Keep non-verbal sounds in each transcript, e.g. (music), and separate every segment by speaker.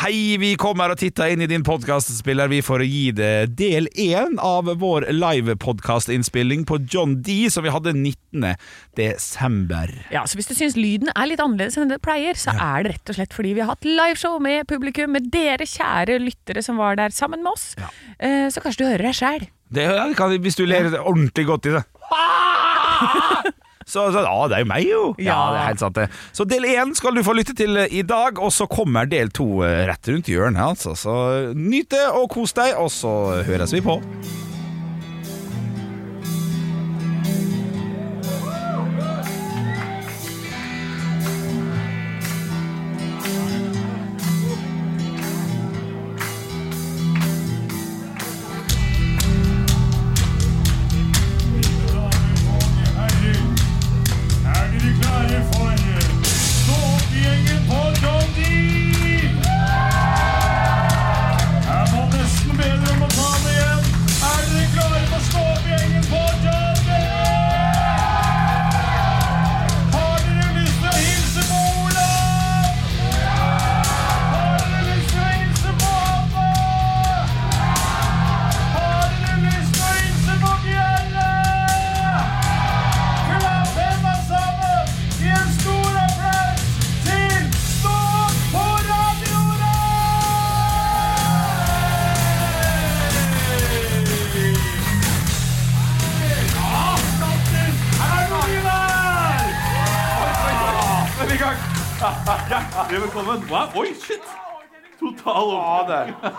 Speaker 1: Hei, vi kommer og titter inn i din podkastspiller, vi, for å gi det del én av vår livepodkastinnspilling på John D, som vi hadde 19. desember.
Speaker 2: Ja, så Hvis du syns lyden er litt annerledes enn det pleier, så er det rett og slett fordi vi har hatt liveshow med publikum, med dere kjære lyttere som var der sammen med oss. Eh, Så kanskje du hører deg sjæl.
Speaker 1: Det ja, det kan, Hvis du ler ordentlig godt i det så, så, Ja, det er jo meg jo Ja,
Speaker 2: Ja.
Speaker 1: det er helt sant det Så del 1 skal du få lytte til eh, i dag Og så kommer del 2 eh, rett rundt i hjørnet altså. Så nyt det og kos deg Og så høres vi på
Speaker 3: Er dere klare for Stå opp-gjengen på John D? Jeg må nesten be dere om å ta det igjen. Er dere klare for Stå opp-gjengen på John D? Har dere lyst til å hilse på Olav? Har dere lyst til å hilse på Abba? Har dere lyst til å hilse på Bjelle? Klapp hendene sammen! Gi en stor applaus til Stå opp på radioen! Ja, statter! Er det noen der?
Speaker 4: Da er vi i gang. Hjertelig velkommen. Wow, oi, shit! Total oppgave.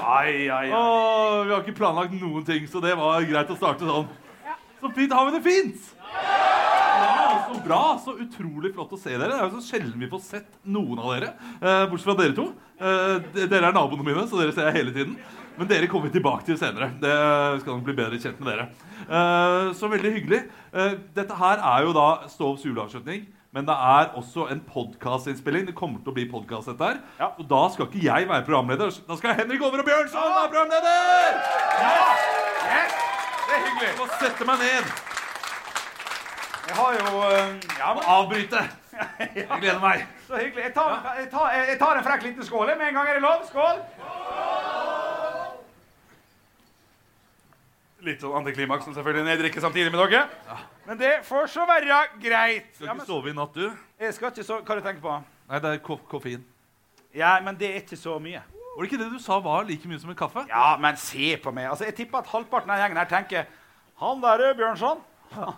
Speaker 3: Ai, ai, ai.
Speaker 4: Vi har ikke planlagt noen ting, så det var greit å starte sånn. Så fint. Har vi det fint? Ja, Så bra. Så utrolig flott å se dere. Det er jo så sjelden vi får sett noen av dere. eh, Bortsett fra dere to. Eh, de- Dere er naboene mine, så dere ser jeg hele tiden. Men dere kommer vi tilbake til senere. Det skal nok bli bedre kjent med dere. Eh, Så veldig hyggelig. Eh, Dette her er jo da Stovs juleavslutning. Men det er også en podkastinnspilling. Det kommer til å bli podkast, dette her. Og da skal ikke jeg være programleder. Da skal Henrik Over og Bjørnson være programleder!
Speaker 3: Det er hyggelig.
Speaker 4: Jeg må sette meg ned.
Speaker 3: Jeg har jo eh, Ja, men
Speaker 4: Avbryte.
Speaker 3: (laughs)
Speaker 4: Jeg gleder meg.
Speaker 3: så hyggelig. Jeg tar, jeg tar, jeg tar en frekk liten skål jeg, med en gang. Er det lov? Skål! Litt sånn antiklimaks som selvfølgelig når jeg drikker samtidig med dere. Men det får så være greit.
Speaker 4: Skal
Speaker 3: Ja,
Speaker 4: ikke
Speaker 3: men,
Speaker 4: sove i natt, du.
Speaker 3: jeg skal ikke så, Hva du tenker på?
Speaker 4: Nei, det er ko koffein.
Speaker 3: Ja, men det er ikke så mye.
Speaker 4: Var det ikke det du sa var like mye som en kaffe?
Speaker 3: Ja, men se på meg. Altså, Jeg tipper at halvparten av gjengen her tenker Han der eh, Bjørnson, (laughs) han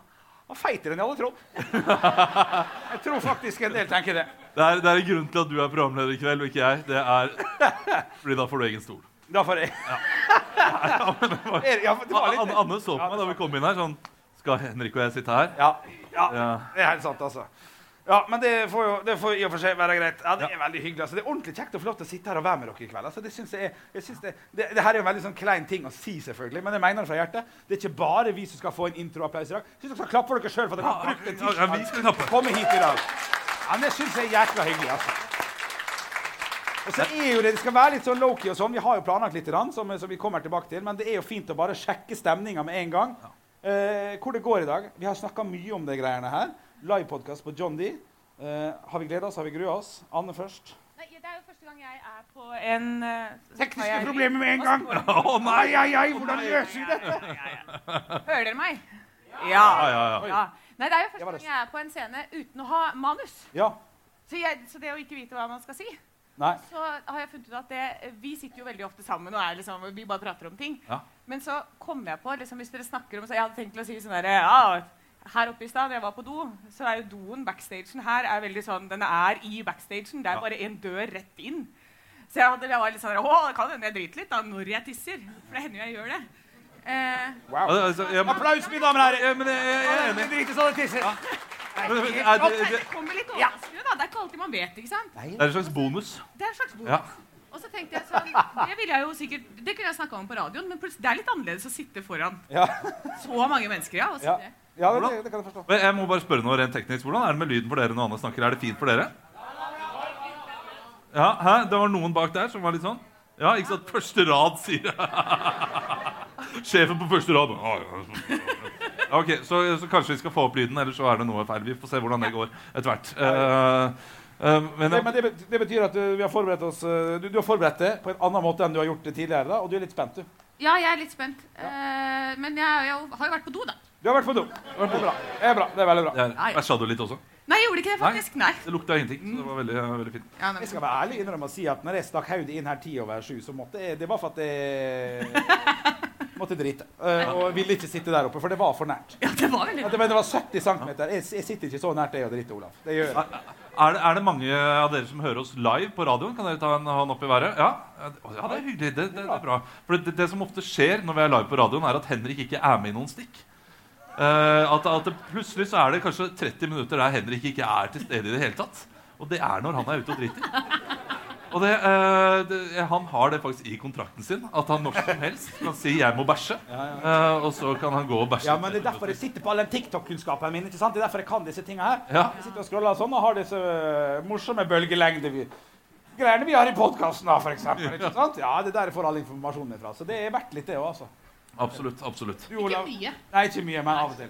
Speaker 3: er feitere enn jeg hadde trodd. (laughs) Jeg tror faktisk en del tenker det.
Speaker 4: Det er, det er en grunn til at du er programleder i kveld, og ikke jeg. Det er
Speaker 3: (laughs)
Speaker 4: fordi da får du egen stol.
Speaker 3: Da får jeg Er- (laughs) Ja, men det var
Speaker 4: Anne,
Speaker 3: litt
Speaker 4: Anne så på meg da vi kom inn her sånn Skal Henrik og jeg sitte her?
Speaker 3: Ja, ja
Speaker 4: Ja.
Speaker 3: det er helt sant, altså. Ja, Men det får jo det får i og for seg være greit. Ja, Det er veldig hyggelig. altså. Det er ordentlig kjekt å få lov til å sitte her og være med dere i kveld. altså. Det synes jeg er, jeg synes det, det, det her er jo en veldig sånn klein ting å si, selvfølgelig, men jeg mener det fra hjertet. Det er ikke bare vi som skal få en introapplaus i dag. Jeg synes dere skal klappe for dere sjøl for at dere har brukt en
Speaker 4: ja, ja, vi skal
Speaker 3: tirsdag
Speaker 4: klappe.
Speaker 3: til å komme hit i dag. Ja, men Det syns jeg er jækla hyggelig. altså. Og så er jo det, det skal være litt sånn lowkey og sånn. Vi har jo planlagt litt, grann, som, som vi kommer tilbake til, men det er jo fint å bare sjekke stemninga med en gang. Eh, hvor det går i dag. Vi har snakka mye om de greiene her. Livepodkast på John D. Eh, har vi gleda oss? Har vi grua oss? Anne først.
Speaker 5: Nei, det er jo første gang jeg er på en eh, så tar
Speaker 3: Tekniske
Speaker 5: jeg-
Speaker 3: problemer med en gang!
Speaker 4: Å nei!
Speaker 3: Ai, ai, ai, hvordan løser vi dette?
Speaker 5: Hører dere meg?
Speaker 4: Ja,
Speaker 5: Ja.
Speaker 4: ja, ja.
Speaker 5: ja. Nei, det er jo
Speaker 3: Jeg var
Speaker 5: første gang jeg er på en scene uten å ha manus.
Speaker 3: Ja.
Speaker 5: Så, jeg, så det å ikke vite hva man skal si,
Speaker 3: Nei.
Speaker 5: så har jeg funnet ut at det, vi sitter jo veldig ofte sammen og er liksom, vi bare prater om ting.
Speaker 4: Ja.
Speaker 5: Men så kom jeg på, liksom, hvis dere snakker om så Jeg hadde tenkt til å si sånn derre ja, her oppe i stad, da jeg var på do, så er jo doen, backstagen her, er veldig sånn, den er i backstagen. Det er bare en dør rett inn. Så jeg, hadde, jeg var litt sånn Å, det kan hende jeg driter litt da, når jeg tisser. For det hender jo jeg gjør det. Eh,
Speaker 4: Ja, det- altså, jeg-
Speaker 3: Applaus, mine damer og herrer!
Speaker 4: Ja, men jeg, jeg, jeg er enig.
Speaker 3: Drite sånn og tisse.
Speaker 4: Men, men,
Speaker 5: Ja,
Speaker 4: er det,
Speaker 5: det
Speaker 4: det,
Speaker 5: kommer litt overraskende, da. Det er ikke alltid man vet, ikke sant?
Speaker 4: det er en slags bonus.
Speaker 5: Det er en slags bok.
Speaker 4: Ja.
Speaker 5: Og så tenkte jeg sånn Det ville jeg jo sikkert, det kunne jeg snakka om på radioen, men plutselig, det er litt annerledes å sitte foran
Speaker 3: Ja.
Speaker 5: så mange mennesker, ja. Og
Speaker 3: Ja,
Speaker 5: sitte.
Speaker 3: ja det, det kan jeg forstå.
Speaker 4: Men jeg må bare spørre noe rent teknisk. Hvordan er det med lyden for dere når Anne snakker? Er det fint for dere? Ja, hæ? Det var noen bak der som var litt sånn? Ja, ikke sant? Første rad, sier jeg. (laughs) Sjefen på første rad. Ja, ja. Ja, Ok, så, så kanskje vi skal få opp lyden, eller så er det noe feil. Vi får se hvordan det går etter hvert. Eh, Eh, men,
Speaker 6: Nei, men det, bet- det betyr at du, vi har forberedt oss eh, du, du har forberedt det på en annen måte enn du har gjort det tidligere. da, Og du er litt spent, du.
Speaker 5: Ja, jeg er litt spent. Eh, men jeg, jeg har jo vært på do, da.
Speaker 6: Du har vært for dum. Det er bra. Det er, bra. Det er veldig bra.
Speaker 4: jeg bæsja du litt også?
Speaker 5: Nei, jeg gjorde ikke det, faktisk. Nei.
Speaker 4: Det lukta ingenting. Så det var veldig, veldig fint.
Speaker 5: Ja, nei,
Speaker 6: Jeg
Speaker 5: men-
Speaker 6: skal være ærlig innrømme og si at når jeg stakk hodet inn her ti over sju, så måtte jeg Det var for at jeg (laughs) måtte drite. Eh, og ville ikke sitte der oppe, for det var for nært.
Speaker 5: ja, det var veldig
Speaker 6: At det, men det var 70 cm. Jeg, jeg sitter ikke så nært deg og driter, Olaf. Det gjør jeg.
Speaker 4: Er det, er det mange av dere som hører oss live på radioen? Kan dere ta en hånd opp i været? Ja, ja det- ja, det er hyggelig. Det, det, det er bra. For det, det som ofte skjer når vi er live på radioen, er at Henrik ikke er med i noen stikk. Eh, at, at det, plutselig så er det kanskje 30 minutter der Henrik ikke er til stede i det hele tatt. Og det er når han er ute og driter. Og det, eh, det, han har det faktisk i kontrakten sin. At han når som helst kan si 'jeg må bæsje', eh, og så kan han gå og bæsje.
Speaker 6: Ja, men Det er derfor jeg sitter på all den TikTok-kunnskapen min. ikke sant? Det er derfor jeg kan disse tinga her.
Speaker 4: Ja.
Speaker 6: Jeg sitter og scroller sånn og har disse øh, morsomme bølgelengdegreiene vi har i podkasten, for eksempel. Ikke sant? Ja, det er der jeg får all informasjonen ifra. Så det er verdt litt, det òg, altså.
Speaker 4: Absolutt. absolutt
Speaker 6: Du,
Speaker 5: Ikke
Speaker 6: Olav.
Speaker 5: mye.
Speaker 6: Nei, ikke mye, men av og til.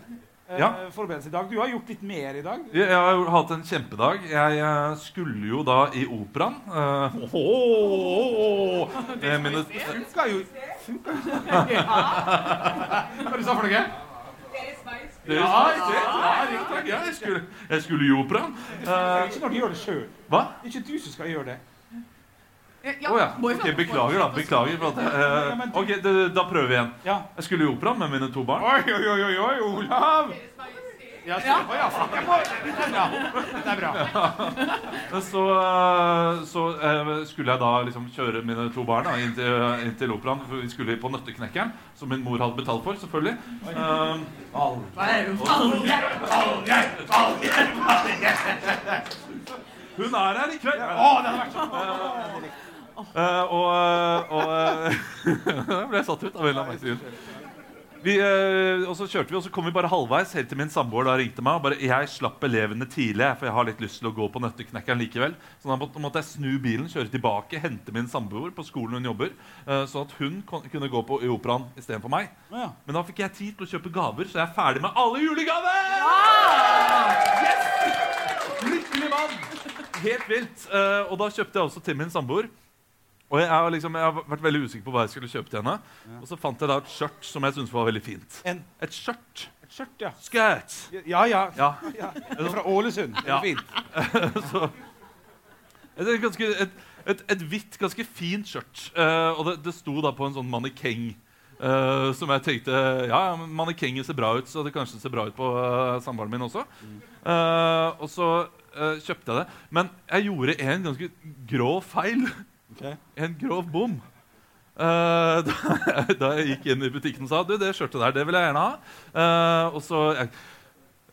Speaker 6: Eh,
Speaker 4: Ja.
Speaker 6: Forberedelse i dag. Du har gjort litt mer i dag.
Speaker 4: Jeg jeg har jo hatt en kjempedag. Jeg eh, skulle jo da i operaen. eh, åh, åh, åh, åh, eh, mine-
Speaker 6: Funka jo
Speaker 4: Hva sa du for noe? Ja, riktig. Ja, riktig. Ja, jeg skulle, jeg skulle i operaen.
Speaker 6: Det er
Speaker 4: Eh,
Speaker 6: ikke når du gjør det sjøl.
Speaker 4: hva?
Speaker 6: Det er ikke du som skal gjøre det.
Speaker 4: Å ja. Ok, beklager, da. Beklager. For at, eh, ok, det, det- Da prøver vi igjen.
Speaker 6: Ja.
Speaker 4: Jeg skulle i operaen med mine to barn.
Speaker 6: Oi, oi, oi, oi, oi Olav! Ja, så, Å, ja, fuck, jeg må, det er bra. Det er bra.
Speaker 4: Eh, Så, eh, så eh, skulle jeg da liksom kjøre mine to barn da, inn, til, inn til operaen. For vi skulle på Nøtteknekkeren, som min mor hadde betalt for, selvfølgelig. Eh, Hun er her i kveld!
Speaker 6: Å, det hadde vært så
Speaker 4: Eh, og og eh, (laughs) Jeg ble satt ut av en eller annen merkelig grunn. Vi, eh, og så kjørte vi, og så kom vi bare halvveis helt til min samboer da ringte meg. og bare, Jeg slapp elevene tidlig, jeg, for jeg har litt lyst til å gå på Nøtteknekkeren likevel. Så da måtte, måtte jeg snu bilen, kjøre tilbake, hente min samboer på skolen hun jobber. eh, sånn at hun kon kunne gå på i operaen istedenfor meg.
Speaker 6: Ja.
Speaker 4: Men da fikk jeg tid til å kjøpe gaver, så jeg er ferdig med alle julegaver! Yes! Lykkelig mann! Helt vilt. Eh, og da kjøpte jeg også til min samboer. Og jeg, har liksom, jeg har vært veldig usikker på hva jeg skulle kjøpe til henne. Og så fant jeg da et skjørt som jeg syntes var veldig fint.
Speaker 6: En-
Speaker 4: Et skjørt.
Speaker 6: Et skjørt, ja.
Speaker 4: Skjørt.
Speaker 6: Ja, ja.
Speaker 4: Ja.
Speaker 6: Det er Fra Ålesund. Det
Speaker 4: Ja.
Speaker 6: er fint.
Speaker 4: Et, et, ganske, et, et, et hvitt, ganske fint skjørt. Eh, og det, det sto da på en sånn mannekeng. eh, som jeg tenkte Ja, ja, men mannekengen ser bra ut, så det kanskje ser bra ut på uh, samboeren min også. Eh, og så eh, kjøpte jeg det. Men jeg gjorde en ganske grå feil.
Speaker 6: Ok.
Speaker 4: En grov bom. Eh, (laughs) da, da jeg gikk inn i butikken og sa Du, det skjørtet der, det vil jeg gjerne ha. Eh, og så jeg,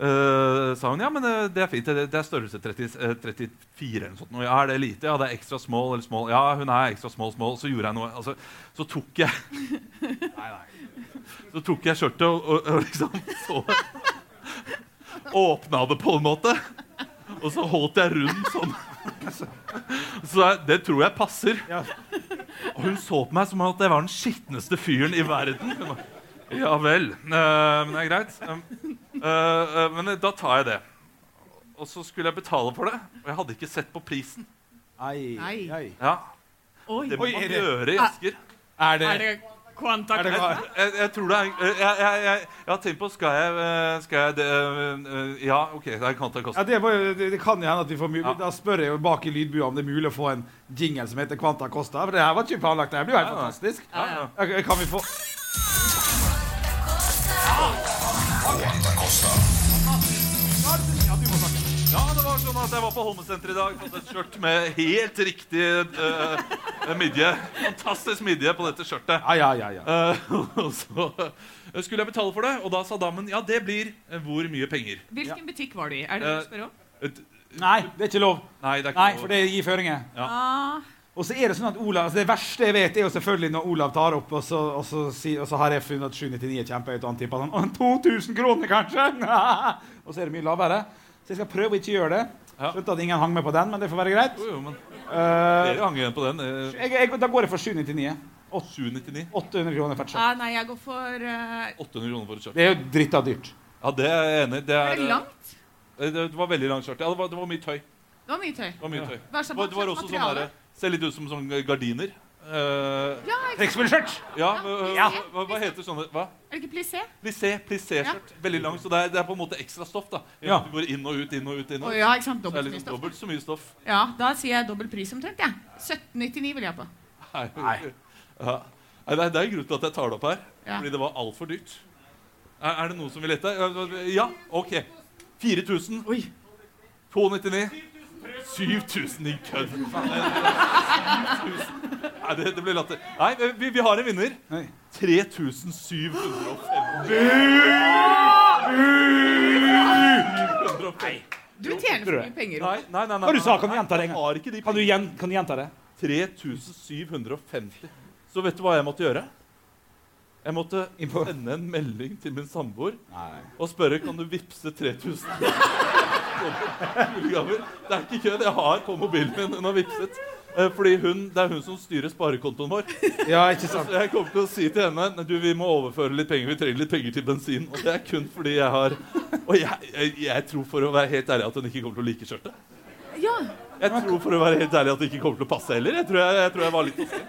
Speaker 4: eh, sa hun ja, men eh, det er fint. Det, det er størrelse 30, eh, 34 eller noe sånt. Og ja, er det lite? Ja, det er ekstra small eller small. Ja, hun er ekstra small, small. Så gjorde jeg noe. Altså, så tok jeg Så tok jeg skjørtet og, og, og liksom så (laughs) Åpna det på en måte. Og så holdt jeg rundt sånn. (laughs) Så jeg- det tror jeg passer. Og hun så på meg som at jeg var den skitneste fyren i verden. Hun bare, Ja vel. eh, men det er greit. Eh, eh, men da tar jeg det. Og så skulle jeg betale for det, og jeg hadde ikke sett på prisen.
Speaker 6: Ai,
Speaker 5: Nei.
Speaker 6: ai.
Speaker 4: Ja,
Speaker 5: Oi.
Speaker 4: Det må
Speaker 6: Oi, Ah,
Speaker 4: man
Speaker 6: er det-
Speaker 4: gjøre i Asker.
Speaker 6: Er det,
Speaker 5: Er det
Speaker 6: er det
Speaker 5: kvantakt?
Speaker 4: Jeg, jeg tror det er jeg, jeg, jeg, jeg har tenkt på Skal jeg, eh, skal jeg det, eh, eh, Ja, OK, det er Kantakasten.
Speaker 6: ja, det, må, jo- det, det kan jo hende at vi får mye
Speaker 4: Ja.
Speaker 6: Da spør jeg jo bak i lydbua om det er mulig å få en jingle som heter Kvanta Costa. For det her var ikke planlagt. Det her blir jo helt
Speaker 4: Nei, nei.
Speaker 6: fantastisk.
Speaker 4: Ja, ja.
Speaker 6: Ok, Kan vi få
Speaker 4: Ja, det var sånn at jeg var på Holmesenteret i dag. Fått et skjørt med helt riktig eh, midje. Fantastisk midje på dette skjørtet.
Speaker 6: Ai, ai, ai. ai.
Speaker 4: Eh, (laughs) og så eh, skulle jeg betale for det, og da sa damen ja, det blir eh, hvor mye penger?
Speaker 5: Hvilken butikk var du i? Er det det du
Speaker 4: Eh,
Speaker 5: spør om?
Speaker 4: Et,
Speaker 6: Nei, det er ikke lov.
Speaker 4: nei, det er ikke
Speaker 6: Nei,
Speaker 4: noe-
Speaker 6: for det gir føringer.
Speaker 5: Ah,
Speaker 6: Og så er det sånn at Olav, altså Det verste jeg vet, er jo selvfølgelig når Olav tar opp, og så, og så, si, og så har jeg funnet at 799 er kjempehøyt, og han tipper sånn «Å, 2000 kroner, kanskje? (laughs) og så er det mye lavere. Så jeg skal prøve å ikke gjøre det.
Speaker 4: Ja.
Speaker 6: Skjønte at ingen hang med på den, men det får være greit.
Speaker 4: Jo, jo, men
Speaker 6: Eh,
Speaker 4: dere hang igjen på den. eh,
Speaker 6: jeg, jeg, da går jeg for 799.
Speaker 4: 799.
Speaker 6: 800 kroner for et skjørt.
Speaker 5: ah, nei, jeg går for eh,
Speaker 4: 800 kroner for et skjørt.
Speaker 6: Det er jo dritta dyrt.
Speaker 4: Ja, det er jeg enig i. Det,
Speaker 5: Er
Speaker 4: er,
Speaker 5: det langt?
Speaker 4: eh, det var veldig langt skjørt. Ja, det var, det var mye tøy.
Speaker 5: Det var mye tøy.
Speaker 4: Det var mye tøy.
Speaker 5: Hva slags
Speaker 4: Det var, det var også sånn
Speaker 5: materiale?
Speaker 4: derre Ser litt ut som sånne gardiner. Eh,
Speaker 5: Ja, ikke-
Speaker 6: Krigsbullshit!
Speaker 4: ja, eh,
Speaker 5: Ja.
Speaker 4: Hva, hva heter sånne Hva?
Speaker 5: er det ikke plissé?
Speaker 4: Plissé, plissé-skjørt. Veldig langt, så det er, det er på en måte ekstra stoff. da
Speaker 6: Ja.
Speaker 4: Du går inn og ut, inn og ut. inn
Speaker 5: Å
Speaker 4: og ut
Speaker 5: ja, ikke sant?
Speaker 4: Det er
Speaker 5: Dobbelt
Speaker 4: liksom
Speaker 5: stoff.
Speaker 4: dobbelt så mye stoff.
Speaker 5: Ja, da sier jeg dobbel pris omtrent, jeg. 1799 vil jeg på.
Speaker 4: Nei. Ja. Nei, det er- det er en grunn til at jeg tar det opp her.
Speaker 5: Ja.
Speaker 4: Fordi det var altfor dyrt. Er, er det noen som vil gjette? Ja, OK. 4000.
Speaker 5: Oi.
Speaker 4: 299. 7000 i kødd! for faen. 7000. Nei, det, det blir latter. Nei, vi, vi har en vinner.
Speaker 6: Nei.
Speaker 4: 3750.
Speaker 5: Du tjener for mye penger.
Speaker 4: Nei, nei, nei, nei.
Speaker 6: Hva du sa, kan du gjenta det en
Speaker 4: Jeg
Speaker 6: gang?
Speaker 4: har ikke de
Speaker 6: Kan du,
Speaker 4: pengene.
Speaker 6: gjen, kan du gjenta det?
Speaker 4: 3750. Så vet du hva jeg måtte gjøre? Jeg måtte
Speaker 6: Inn på-
Speaker 4: sende en melding til min samboer og spørre kan du vippse 3000. (laughs) julegaver. Det er ikke kødd. Jeg har på mobilen min. Hun har vippset. Eh, Fordi hun, Det er hun som styrer sparekontoen vår.
Speaker 6: Ja, ikke
Speaker 4: Så jeg kommer til å si til henne Nei, du, vi må overføre litt penger. Vi trenger litt penger til bensin. Og det er kun fordi jeg har Og jeg, jeg, jeg tror for å være helt ærlig at hun ikke kommer til å like skjørtet.
Speaker 5: Ja,
Speaker 4: Jeg tror for å være helt ærlig at det ikke kommer til å passe heller. Jeg tror jeg, jeg, tror jeg var litt hissig.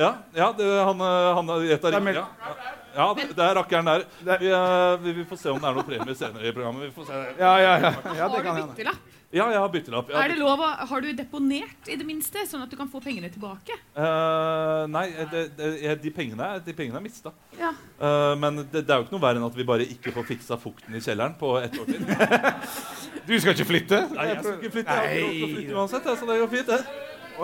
Speaker 4: Ja, ja det, han, eh, han har gjetta
Speaker 6: er
Speaker 4: riktig.
Speaker 6: mel-
Speaker 4: Ja, Ja. ja det, det er rakkeren der. Vi, eh, vi, vi får se om det er noen premie senere i programmet. Vi får se.
Speaker 6: Ja, ja, ja. ja det
Speaker 5: har du
Speaker 6: kan hende.
Speaker 5: byttelapp?
Speaker 4: Ja, jeg har byttelapp.
Speaker 5: Er det
Speaker 4: Ja,
Speaker 5: lov å, har du deponert, i det minste, sånn at du kan få pengene tilbake?
Speaker 4: uh, nei, det, det, jeg- de pengene, er- de pengene er mista.
Speaker 5: Ja.
Speaker 4: Eh, men det, det er jo ikke noe verre enn at vi bare ikke får fiksa fukten i kjelleren på ett år til. Nei,
Speaker 6: (laughs) Du skal ikke flytte?
Speaker 4: jeg skal ikke flytte. Jeg har ikke lov til å flytte uansett, jeg, så det går fint. Det.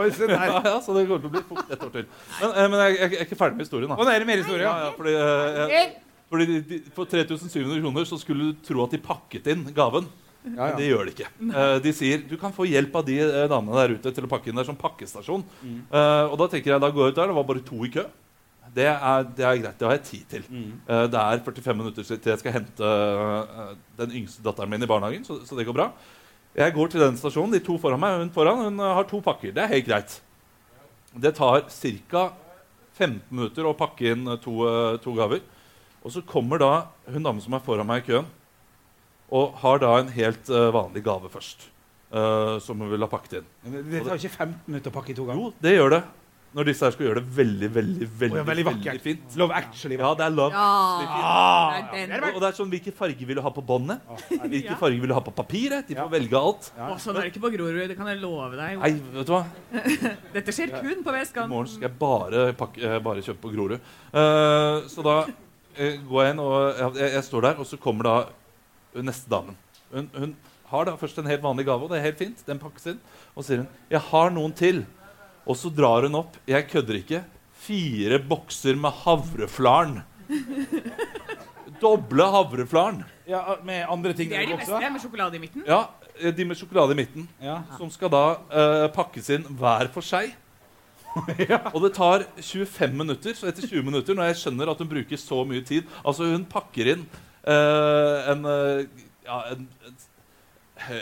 Speaker 6: Oi, se der.
Speaker 4: (laughs) Ja, ja, så det kommer til å bli fukt ett år til. Men, eh, men jeg, jeg, jeg er ikke ferdig med historien, da.
Speaker 6: Å, det er mer historie.
Speaker 4: Ja,
Speaker 6: ja.
Speaker 4: ja, fordi, eh, jeg,
Speaker 5: Eh,
Speaker 4: fordi de, de, For 3700 kroner så skulle du tro at de pakket inn gaven.
Speaker 6: Ja,
Speaker 4: Men
Speaker 6: ja.
Speaker 4: det gjør de ikke. Eh, de sier du kan få hjelp av de eh, damene der ute til å pakke inn. Det er som pakkestasjon.
Speaker 6: Mm.
Speaker 4: Eh, og da tenker jeg da går jeg ut der. Det var bare to i kø. Det er, det er greit. Det har jeg tid til.
Speaker 6: Mm.
Speaker 4: Eh, det er 45 minutter til jeg skal hente eh, den yngste datteren min i barnehagen, så, så det går bra. Jeg går til den stasjonen. De to foran meg, hun foran, hun eh, har to pakker. Det er helt greit. Det tar ca. 15 minutter å pakke inn eh, to, eh, to gaver. Og så kommer da hun damen som er foran meg i køen, og har da en helt eh, vanlig gave først. eh, som hun vil ha pakket inn.
Speaker 6: Men Det tar jo ikke 15 minutter å pakke i to ganger.
Speaker 4: Jo, det gjør det. Når disse her skal gjøre det veldig, veldig, veldig,
Speaker 6: ja, veldig
Speaker 4: veldig,
Speaker 6: vakkert.
Speaker 4: fint.
Speaker 6: Love Actually.
Speaker 4: Ja, det er love.
Speaker 5: Ja, Ah. det er
Speaker 4: Og
Speaker 5: den.
Speaker 4: og det er sånn, Hvilke farger vil du ha på båndet? (laughs) Hvilke
Speaker 5: Ja.
Speaker 4: farger vil du ha på papiret? De får velge alt.
Speaker 5: Å, sånn er det ikke på Grorud, det kan jeg love deg.
Speaker 4: Nei, vet du hva?
Speaker 5: Dette skjer kun på
Speaker 4: I morgen
Speaker 5: vestkanten.
Speaker 4: skal jeg bare, pakke, eh, bare kjøpe på Grorud. Eh, så da eh, går jeg inn, og jeg, jeg- jeg står der, og så kommer da eh, neste damen. Hun, hun har da først en helt vanlig gave, og det er helt fint. Den pakkes inn. Og så sier hun 'Jeg har noen til'. Og så drar hun opp, jeg kødder ikke, fire bokser med
Speaker 5: (laughs)
Speaker 4: havreflarn. Doble havreflarn.
Speaker 6: Ja, med andre ting
Speaker 5: Det er de
Speaker 6: også, da?
Speaker 5: beste, med sjokolade i midten.
Speaker 4: Ja, eh, de med sjokolade i midten.
Speaker 6: Ja.
Speaker 4: Som skal da eh, pakkes inn hver for seg.
Speaker 6: (laughs)
Speaker 4: Og det tar 25 minutter. Så etter 20 minutter, når jeg skjønner at hun bruker så mye tid Altså, hun pakker inn eh, en eh, Ja, en, et,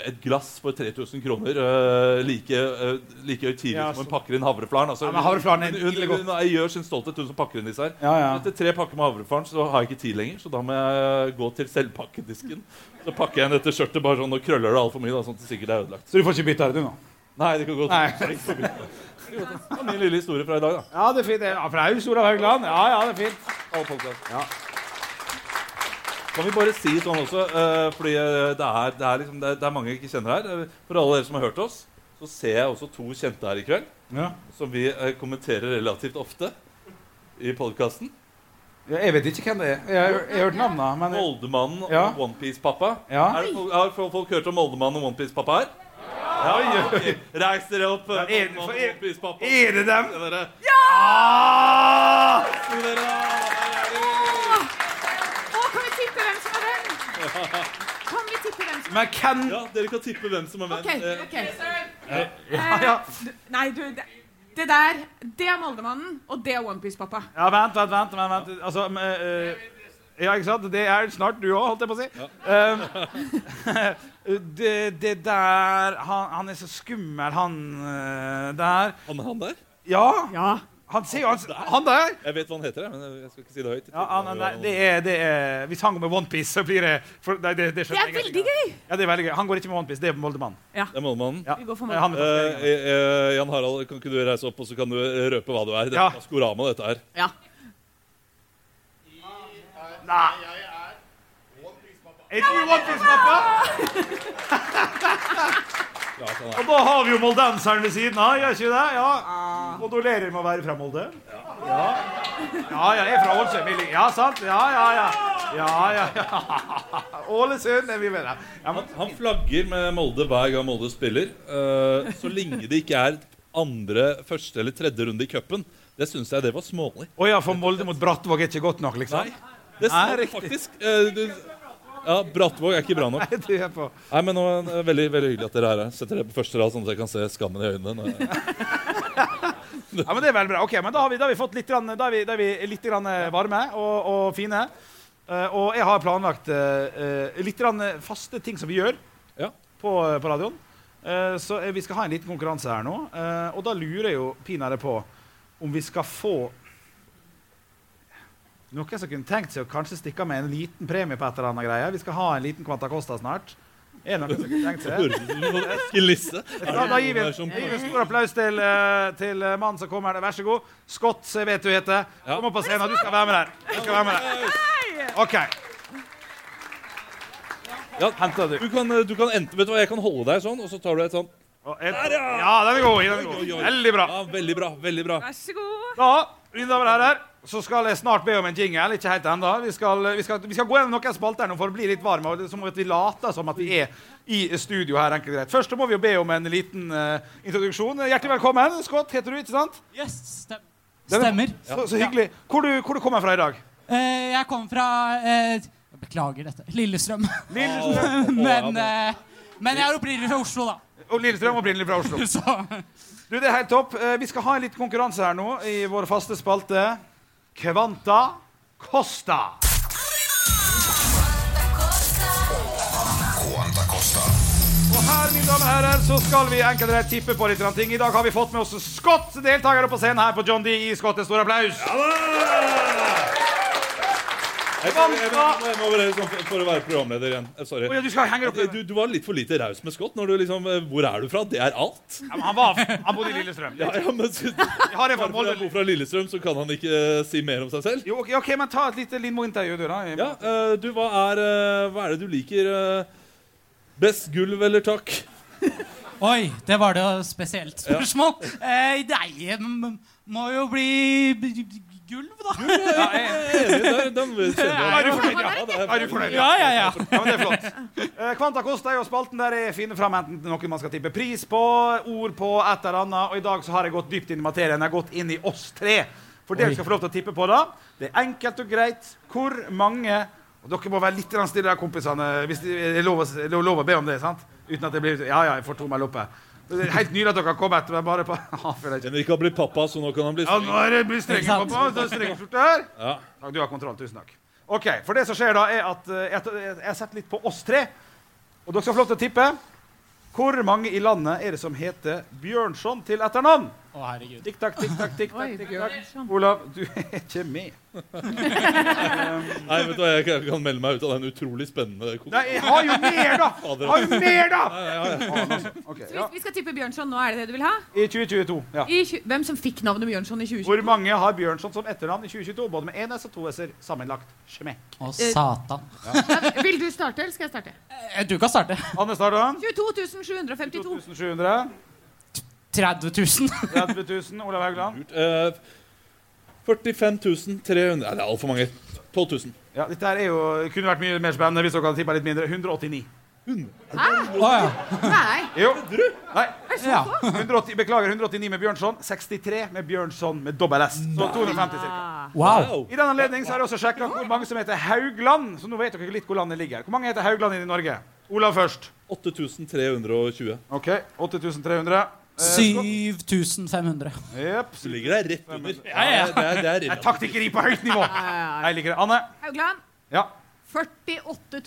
Speaker 4: et glass for 3000 kroner eh, like, eh, like høytidelig
Speaker 6: Ja,
Speaker 4: som hun
Speaker 6: så-
Speaker 4: pakker inn havreflaren. Altså,
Speaker 6: Ja, men havreflaren er
Speaker 4: hun, hun,
Speaker 6: ille
Speaker 4: hun,
Speaker 6: godt.
Speaker 4: gjør sin stolthet, hun som pakker inn disse her.
Speaker 6: Ja, ja.
Speaker 4: Etter tre pakker med havrefaren så har jeg ikke tid lenger, så da må jeg gå til selvpakkedisken. Så pakker jeg inn dette skjørtet bare sånn og krøller det altfor mye, da, sånn at det sikkert er ødelagt.
Speaker 6: Så du får ikke bytte det, du, nå?
Speaker 4: Nei, det kan godt
Speaker 6: Nei.
Speaker 4: Sorry, sorry. Det var min lille historie fra i dag, da.
Speaker 6: Ja, det er fint. Ja, for det er jo Olav Haugland. Ja, ja, det er fint.
Speaker 4: Alle podcast.
Speaker 6: Ja.
Speaker 4: Kan vi bare si sånn også, eh, fordi eh, det er, det, er liksom, det, er, det er mange jeg ikke kjenner her. Eh, For alle dere som har hørt oss, så ser jeg også to kjente her i kveld,
Speaker 6: Ja.
Speaker 4: som vi eh, kommenterer relativt ofte i podkasten.
Speaker 6: Ja, jeg vet ikke hvem det er. Jeg, har- jeg har hørt navnet, men
Speaker 4: Moldemannen
Speaker 6: Ja.
Speaker 4: og OnePiece-pappa.
Speaker 6: Ja.
Speaker 4: Er det folk- Har folk, folk hørt om Moldemannen og OnePiece-pappa her? Ja, ok. Reis dere opp, eh,
Speaker 6: er-
Speaker 4: Moldemannen
Speaker 6: for
Speaker 4: og
Speaker 6: er-
Speaker 4: OnePiece-pappa.
Speaker 6: Er det dem?
Speaker 4: Se dere.
Speaker 6: Ah!
Speaker 4: Se dere.
Speaker 5: Å, kan vi tippe hvem som er
Speaker 6: (laughs)
Speaker 5: hvem? Kan vi tippe hvem som
Speaker 6: Men hvem
Speaker 4: Ja, dere kan tippe hvem som er
Speaker 5: OK.
Speaker 4: venn. Eh,
Speaker 5: ok. Eh, du- Nei, du, det, det der, det er Moldemannen, og det er Onepiece-pappa.
Speaker 6: Ja, vent, vent, vent. vent, vent. Altså, men, eh, ja, ikke sant? Det er snart du òg, holdt jeg på å si. Eh, (laughs) det, det der han, han er så skummel, han eh, der.
Speaker 4: Han, han der?
Speaker 6: Ja,
Speaker 5: Ja.
Speaker 6: Han ser jo han, han der!
Speaker 4: Jeg vet hva han heter, jeg, men jeg skal ikke si det høyt.
Speaker 6: Ja, han, nei, det er, det er, hvis han går med OnePiece, så blir det for, nei, det, det,
Speaker 5: Det er
Speaker 6: skjønner jeg ingenting
Speaker 5: veldig
Speaker 6: av. Ja, det er veldig gøy. Han går ikke med OnePiece, det er Moldemann.
Speaker 4: Det er målemannen.
Speaker 6: Ja.
Speaker 5: Vi går for
Speaker 6: Han
Speaker 5: meg.
Speaker 6: med
Speaker 4: Eh,
Speaker 6: tatueringen.
Speaker 4: eh, Jan Harald, kan ikke du reise opp og så kan du røpe hva du er? Dette
Speaker 6: Ja.
Speaker 4: er Maskorama, dette her.
Speaker 5: Ja.
Speaker 6: Er du OnePiece-pappa?
Speaker 4: Klart han er.
Speaker 6: Og da har vi jo moldenseren ved siden av, gjør ikke vi det? Ja.
Speaker 3: Ah.
Speaker 6: Modulerer med å være fra Molde. Ja. Ja, ja, jeg er fra Ålesund. vi ligger- Ja, sant? Ja, ja, ja. Ja, ja,
Speaker 3: (laughs)
Speaker 6: ja. Ålesund er vi med der. Ja, men,
Speaker 4: Han flagger med Molde hver gang Molde spiller. eh, så lenge det ikke er andre, første eller tredje runde i cupen. Det syns jeg det var smålig.
Speaker 6: å ja, for Molde mot Brattvåg er ikke godt nok, liksom?
Speaker 4: Nei,
Speaker 6: (laughs)
Speaker 4: det
Speaker 6: Nei,
Speaker 4: står
Speaker 6: riktig.
Speaker 4: faktisk eh, du, Ja, Brattvåg er ikke bra nok.
Speaker 6: Du er på.
Speaker 4: Nei, men nå, eh, Veldig veldig hyggelig at dere er her. Setter dere på første rad, sånn at jeg kan se skammen i øynene. når jeg-
Speaker 6: Ja, men Det er veldig bra. Ok, men Da har vi, da har vi fått litt, grann, da er vi, da er vi litt grann eh, varme og, og fine. Eh, og jeg har planlagt eh, eh, litt grann eh, faste ting som vi gjør
Speaker 4: Ja.
Speaker 6: på, på radioen. Eh, så eh, vi skal ha en liten konkurranse her nå. Eh, og da lurer jeg jo pinadø på om vi skal få noen som kunne tenkt seg å kanskje stikke av med en liten premie på et eller annet greie. Vi skal ha en liten Quanta Costa snart. Er det noen som kunne tenkt seg det?
Speaker 4: Høres ut som en sånn Eskelisse. Er
Speaker 6: Da,
Speaker 4: det
Speaker 6: da gir vi
Speaker 4: noen her
Speaker 6: en,
Speaker 4: som-
Speaker 6: gir vi en stor applaus til, eh, til eh, mannen som kommer her. Vær så god. Scott, jeg vet du heter.
Speaker 4: Ja.
Speaker 6: Kom opp på scenen. Du skal være med der. Du skal være med der. OK.
Speaker 4: Ja.
Speaker 6: Henter du.
Speaker 4: Du kan, eh, du kan enten, vet du hva, Jeg kan holde deg sånn, og så tar du et sånt.
Speaker 6: Og et, ja, den er god. Den er god. Veldig bra.
Speaker 4: Ja, veldig bra. veldig bra.
Speaker 5: Vær så god.
Speaker 6: Da, mine damer og herrer, så skal jeg snart be om en jingle. Ikke helt ennå. Vi, skal- vi, skal- vi skal gå gjennom noen spalter nå for å bli litt varme, og det- som at vi later som at vi er i studio her. enkelt og greit. Først så må vi jo be om en liten eh, introduksjon. Hjertelig velkommen. Scott heter du, ikke sant?
Speaker 7: Yes, stem
Speaker 6: Den er-
Speaker 7: stemmer.
Speaker 6: Så, så hyggelig. Hvor, du, hvor du kommer fra i dag?
Speaker 7: Eh, jeg kommer fra eh, jeg Beklager dette. Lillestrøm.
Speaker 6: Lillestrøm,
Speaker 7: (laughs) men, eh, men jeg er opprinnelig fra Oslo, da. (laughs)
Speaker 6: og Lillestrøm opprinnelig fra Oslo.
Speaker 7: Så
Speaker 6: Du, det er helt topp. Eh, Vi skal ha en liten konkurranse her nå i vår faste spalte. Kvanta Costa. Og her, mine damer og herrer, så skal vi enkelt og greit tippe på litt grann ting. I dag har vi fått med oss Scott, deltaker på scenen her på John D. I Scott. En stor applaus.
Speaker 4: Jeg, jeg, jeg, jeg, må bare, sånn, for, for å være programleder igjen. Eh, Sorry.
Speaker 6: Å ja, du skal henge deg opp i-
Speaker 4: Du, du var litt for lite raus med Scott. Når du liksom, eh, Hvor er du fra? Det er alt.
Speaker 6: Ja, men han, var, han bodde i Lillestrøm.
Speaker 4: Ja, ja, men så,
Speaker 6: Jeg har det
Speaker 4: Bare fordi han
Speaker 6: fra Molde.
Speaker 4: bor fra Lillestrøm, så kan han ikke eh, si mer om seg selv.
Speaker 6: Jo, ok, ok, men ta et lite Lindmo-intervju, du, da.
Speaker 4: Ja, eh, du, hva er, eh, hva er det du liker? eh, best gulv eller takk?
Speaker 7: Oi, det var det spesielt spørsmål. Eh, nei, m- m- må jo bli b- b- gulv, da.
Speaker 6: Ja, jeg-
Speaker 4: Eh, Enig, der, den kjenner
Speaker 6: Er
Speaker 4: jeg.
Speaker 6: du fornøyd? Ja.
Speaker 4: Ja, det er-
Speaker 6: Er du fornøyd?
Speaker 7: (laughs) Ja, ja, ja.
Speaker 6: Ja, men det er flott. Eh, Kvanta Kosta er jo spalten der jeg finner fram enten noe man skal tippe pris på, ord på, et eller annet. Og i dag så har jeg gått dypt inn i materien. Jeg har gått inn i oss tre. For dere skal få lov til å tippe på da. Det er enkelt og greit. Hvor mange Og dere må være litt grann stille der, kompisene, hvis det er lov, å s- det er lov å be om det, sant? Uten at det blir Ja, ja, jeg får to meg loppe. Det er Helt nydelig at dere har kommet. Men bare på (laughs) Ja, føler jeg ikke.
Speaker 4: Henrik har blitt pappa, så nå kan han bli
Speaker 6: Ja, nå er det blir strenge
Speaker 7: Ikke sant?
Speaker 6: pappa. Det er strenge skjorte her.
Speaker 4: Ja.
Speaker 6: Takk, du har kontroll. Tusen takk. OK. For det som skjer da, er at eh, jeg, jeg, jeg setter litt på oss tre. Og dere skal få lov til å tippe. Hvor mange i landet er det som heter Bjørnson til etternavn?
Speaker 7: Å, herregud.
Speaker 6: Tikk takk, tikk takk, tikk takk.
Speaker 5: Oi,
Speaker 6: tikk
Speaker 5: Bjørnson.
Speaker 6: takk. Olav, du er ikke med.
Speaker 4: Nei, vet du hva, jeg kan- kan melde meg ut av den utrolig spennende konkurransen.
Speaker 6: Nei, jeg har jo mer, da!
Speaker 4: (laughs) Fader.
Speaker 6: Har jo mer, da! Faen, altså. Ok,
Speaker 5: Så
Speaker 6: ja.
Speaker 5: hvis vi skal tippe Bjørnson nå, er det det du vil ha?
Speaker 6: I 2022. ja.
Speaker 5: I tju- Hvem som fikk navnet Bjørnson i 2020?
Speaker 6: Hvor mange har Bjørnson som etternavn i 2022? Både med én S og to S-er sammenlagt. Smekk.
Speaker 7: Å, satan.
Speaker 5: Vil du starte, eller skal jeg starte?
Speaker 7: Eh, Du kan starte.
Speaker 6: Anne Stardalen.
Speaker 5: 22 752.
Speaker 6: 2700.
Speaker 7: 30 000.
Speaker 6: 30 000. Olav Haugland.
Speaker 4: Eh, 45 300 Nei, det er altfor mange. 12 000.
Speaker 6: Ja, dette her er jo, kunne vært mye mer spennende hvis dere hadde tippa litt mindre. 189.
Speaker 7: Å ja.
Speaker 5: Nei.
Speaker 6: Jo. Nei,
Speaker 7: ja.
Speaker 6: 180, beklager. 189 med Bjørnson. 63 med Bjørnson med dobbel S. Så 250 cirka.
Speaker 7: (laughs) Wow.
Speaker 6: I den anledning så har jeg også sjekka hvor mange som heter Haugland. Så nå vet dere litt hvor landet ligger. Hvor mange heter Haugland i Norge? Olav først.
Speaker 4: 8320.
Speaker 6: OK. 8300. Eh, Scott.
Speaker 7: 7500.
Speaker 6: Jepp.
Speaker 4: Du ligger der rett under.
Speaker 7: ja.
Speaker 4: Det er, det er relativt.
Speaker 6: Taktikkeri på høyt nivå. Jeg liker det. Anne?
Speaker 5: Haugland.
Speaker 6: Ja.
Speaker 5: 48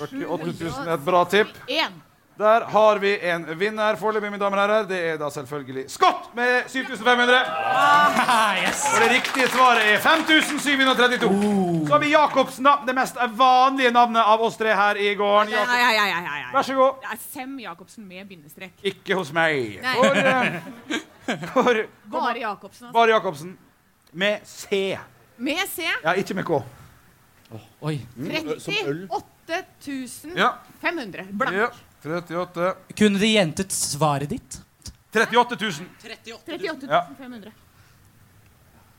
Speaker 6: 48 000 er et bra tipp.
Speaker 5: 701.
Speaker 6: Der har vi en vinner foreløpig, mine damer og herrer. Det er da selvfølgelig Scott med 7500.
Speaker 7: yes.
Speaker 6: Og det riktige svaret er 5732. Så har vi Jacobsen, da. Det mest vanlige navnet av oss tre her i gården.
Speaker 5: Nei,
Speaker 6: Jakob.
Speaker 5: nei, nei, nei, nei, nei.
Speaker 6: Vær så god.
Speaker 5: Det er Sem Jacobsen med bindestrek.
Speaker 6: Ikke hos meg.
Speaker 5: Nei.
Speaker 6: For, eh, for
Speaker 5: Bare Jacobsen. Altså.
Speaker 6: bare Jacobsen. Med C.
Speaker 5: Med C.
Speaker 6: Ja, ikke med K.
Speaker 7: Oi.
Speaker 6: Mm,
Speaker 5: 38
Speaker 6: Ja.
Speaker 5: 500. Blank.
Speaker 6: Ja. 38
Speaker 7: Kunne de gjentet svaret ditt?
Speaker 6: 38 000.
Speaker 5: 38 500.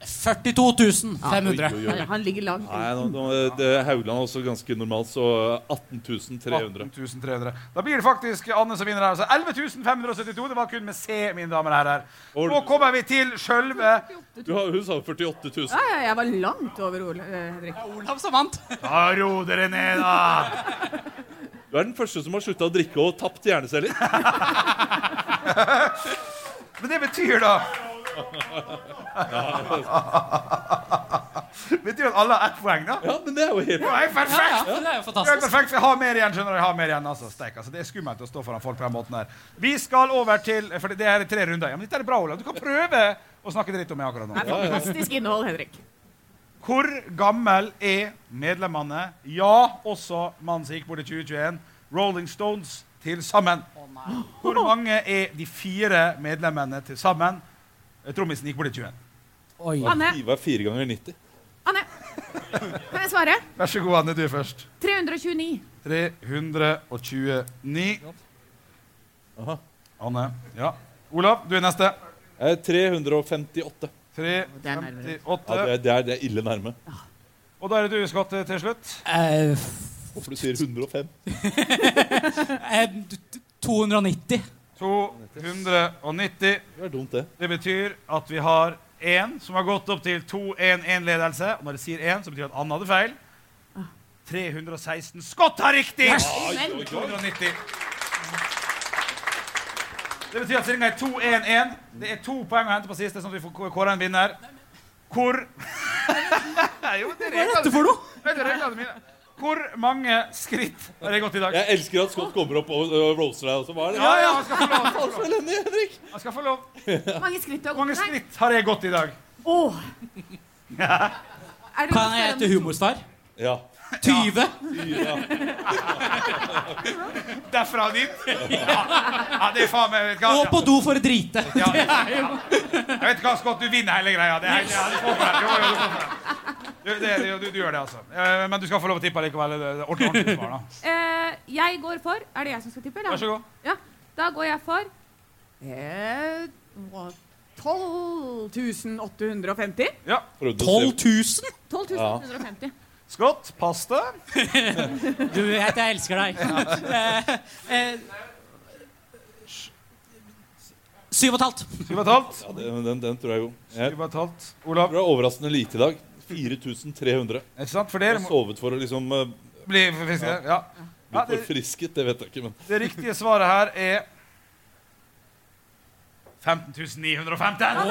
Speaker 7: 42 500.
Speaker 4: Oi, oi, oi.
Speaker 5: Han ligger langt
Speaker 4: Nei, nå, nå, det, Haugland er også ganske normalt, så 18 300.
Speaker 6: 18 300. Da blir det faktisk Anne som vinner her. altså. Så 11 572. Det var kun med C, mine damer og herrer.
Speaker 4: Og-
Speaker 6: Nå kommer vi til sjølve
Speaker 4: Du har, hun sa 48 000.
Speaker 5: Ja, ja, jeg var langt over Ole, eh, Henrik.
Speaker 7: Olav som vant.
Speaker 6: Ta ro dere ned, da!
Speaker 4: Du er den første som har slutta å drikke og tapt hjerneceller.
Speaker 6: Men det betyr da (laughs) Betyr at alle har ett poeng, da?
Speaker 4: Ja, men det er jo helt
Speaker 6: Jeg er perfekt!
Speaker 7: Ja, (laughs) det er jo
Speaker 6: Jeg er
Speaker 7: fantastisk.
Speaker 6: perfekt, for jeg har mer igjen, skjønner du. Jeg har mer igjen, altså. Steik, altså. Det er skummelt å stå foran folk på den måten her. Vi skal over til For det her er tre runder. Ja, men dette er bra, Olav. Du kan prøve å snakke dritt om meg akkurat nå.
Speaker 5: Det er fantastisk innhold, Henrik.
Speaker 6: Hvor gammel er medlemmene, ja, også mannen som gikk bort i 2021, Rolling Stones, til sammen? Hvor mange er de fire medlemmene til sammen? Eh, Trommisen gikk bort i 21.
Speaker 7: Oi.
Speaker 5: Anne,
Speaker 4: Ivar er fire ganger 90.
Speaker 6: (laughs)
Speaker 5: Anne. Kan jeg svare?
Speaker 6: Vær så god, Anne, du først.
Speaker 5: 329.
Speaker 6: 329.
Speaker 4: Aha.
Speaker 6: Anne. Ja. Olav, du er neste.
Speaker 4: Eh, 358.
Speaker 5: Det er nærmere.
Speaker 6: 358.
Speaker 4: Ja, det, er, det, er, det er ille nærme.
Speaker 6: Og da er det du, Scott, til slutt.
Speaker 7: Eh,
Speaker 4: Hvorfor du sier 105?
Speaker 7: eh, d- d- 290.
Speaker 6: 290.
Speaker 4: Det er dumt, det.
Speaker 6: Det betyr at vi har én som har gått opp til 2-1-1-ledelse. Og når jeg sier én, så betyr det at Anne hadde feil. 316. Scott har riktig!
Speaker 5: Men
Speaker 6: 290. Det betyr at stillinga er 2-1-1. Det er to poeng å hente på siste, sånn at vi får k- kåre en vinner. Hvor (laughs) Nei, jo, det er reglene-
Speaker 7: for noe?
Speaker 6: det er reglene mine. Hvor mange skritt har jeg gått i dag?
Speaker 4: Jeg elsker at Scott kommer opp og, og roaster deg også. Hva er det?
Speaker 6: Ja, ja, han skal få lov. han skal få lov.
Speaker 4: Elendig, Henrik!
Speaker 6: Han skal få lov.
Speaker 5: hvor mange skritt du har
Speaker 6: Hvor mange
Speaker 5: gått her?
Speaker 6: skritt har jeg gått i dag?
Speaker 5: Åh! Er det
Speaker 7: Kan jeg hete Humorstar?
Speaker 4: Ja.
Speaker 7: 20?
Speaker 6: Derfra og dit? (laughs) Ja, ja det er faen meg vet du
Speaker 7: Og
Speaker 6: hva.
Speaker 7: på do for å drite.
Speaker 6: Ja, ja, Jeg vet hva, Scott, du vinner hele greia. Det er, ja, du får for det. Jo, jo, du får for det. Du, det, du, du, du gjør det, altså. Eh, Men du skal få lov å tippe likevel. Det er Ordentlig, ordentlig svar, da.
Speaker 5: Eh, jeg går for Er det jeg som skal tippe? eller?
Speaker 6: Vær så god.
Speaker 5: Ja, da går jeg for eh, hva- 12 850.
Speaker 4: Prøvde å
Speaker 7: 12
Speaker 4: se-
Speaker 6: (laughs)
Speaker 7: 000?
Speaker 5: 12 850.
Speaker 6: Scott, pass deg.
Speaker 7: Du vet jeg elsker deg. Eh, eh, Syv og et halvt.
Speaker 6: Syv og et halvt.
Speaker 4: Ja, den, den, den tror jeg jo. Jeg
Speaker 6: Syv og et halvt.
Speaker 4: tror
Speaker 6: Olav,
Speaker 4: det er overraskende lite i dag. 4300.
Speaker 6: ikke sant? For
Speaker 4: Jeg
Speaker 6: dere
Speaker 4: har
Speaker 6: må
Speaker 4: sovet for å liksom eh,
Speaker 6: bli friske. Ja.
Speaker 4: bli
Speaker 6: Ja, det,
Speaker 4: forfrisket, det vet jeg ikke, men
Speaker 6: det riktige svaret her er 15.950.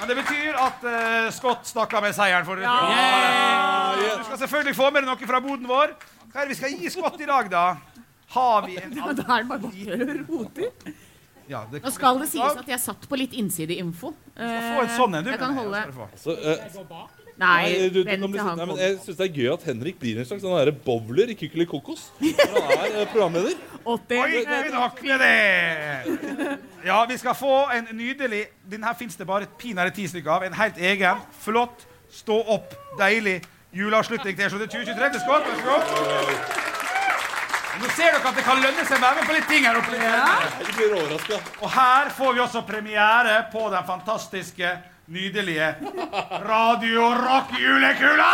Speaker 6: Men det betyr at eh, Scott stakk av med seieren. for Du skal selvfølgelig få med deg noe fra boden vår. Hva er det vi skal gi Scott i dag, da? Har vi
Speaker 5: (laughs)
Speaker 6: en
Speaker 5: Da er det bare bokler og roter.
Speaker 6: ja, det,
Speaker 5: Nå skal det sies at jeg satt på litt innsideinfo.
Speaker 6: Få en sånn en, du.
Speaker 5: Jeg kan
Speaker 6: mener
Speaker 5: holde
Speaker 6: skal du få.
Speaker 4: altså, eh,
Speaker 5: Nei,
Speaker 4: Nei, du, du, nå
Speaker 5: vent
Speaker 4: blir-
Speaker 5: til han
Speaker 4: nei, men
Speaker 5: kommer.
Speaker 4: jeg syns det er gøy at Henrik blir en slags sånn der bowler i Kykkeli kokos. Når han er eh, programleder.
Speaker 5: 80.
Speaker 6: Oi, det er nok med det! Ja, vi skal få en nydelig Den her fins det bare pinadø ti stykker av. En helt egen, flott, stå opp, deilig juleavslutning til T-skjorte 2023 til Skål. Vær så god. Nå ser dere at det kan lønne seg å være med på litt ting her oppe.
Speaker 4: Jeg blir overraska.
Speaker 6: Og her får vi også premiere på den fantastiske, nydelige Radio Rock julekula!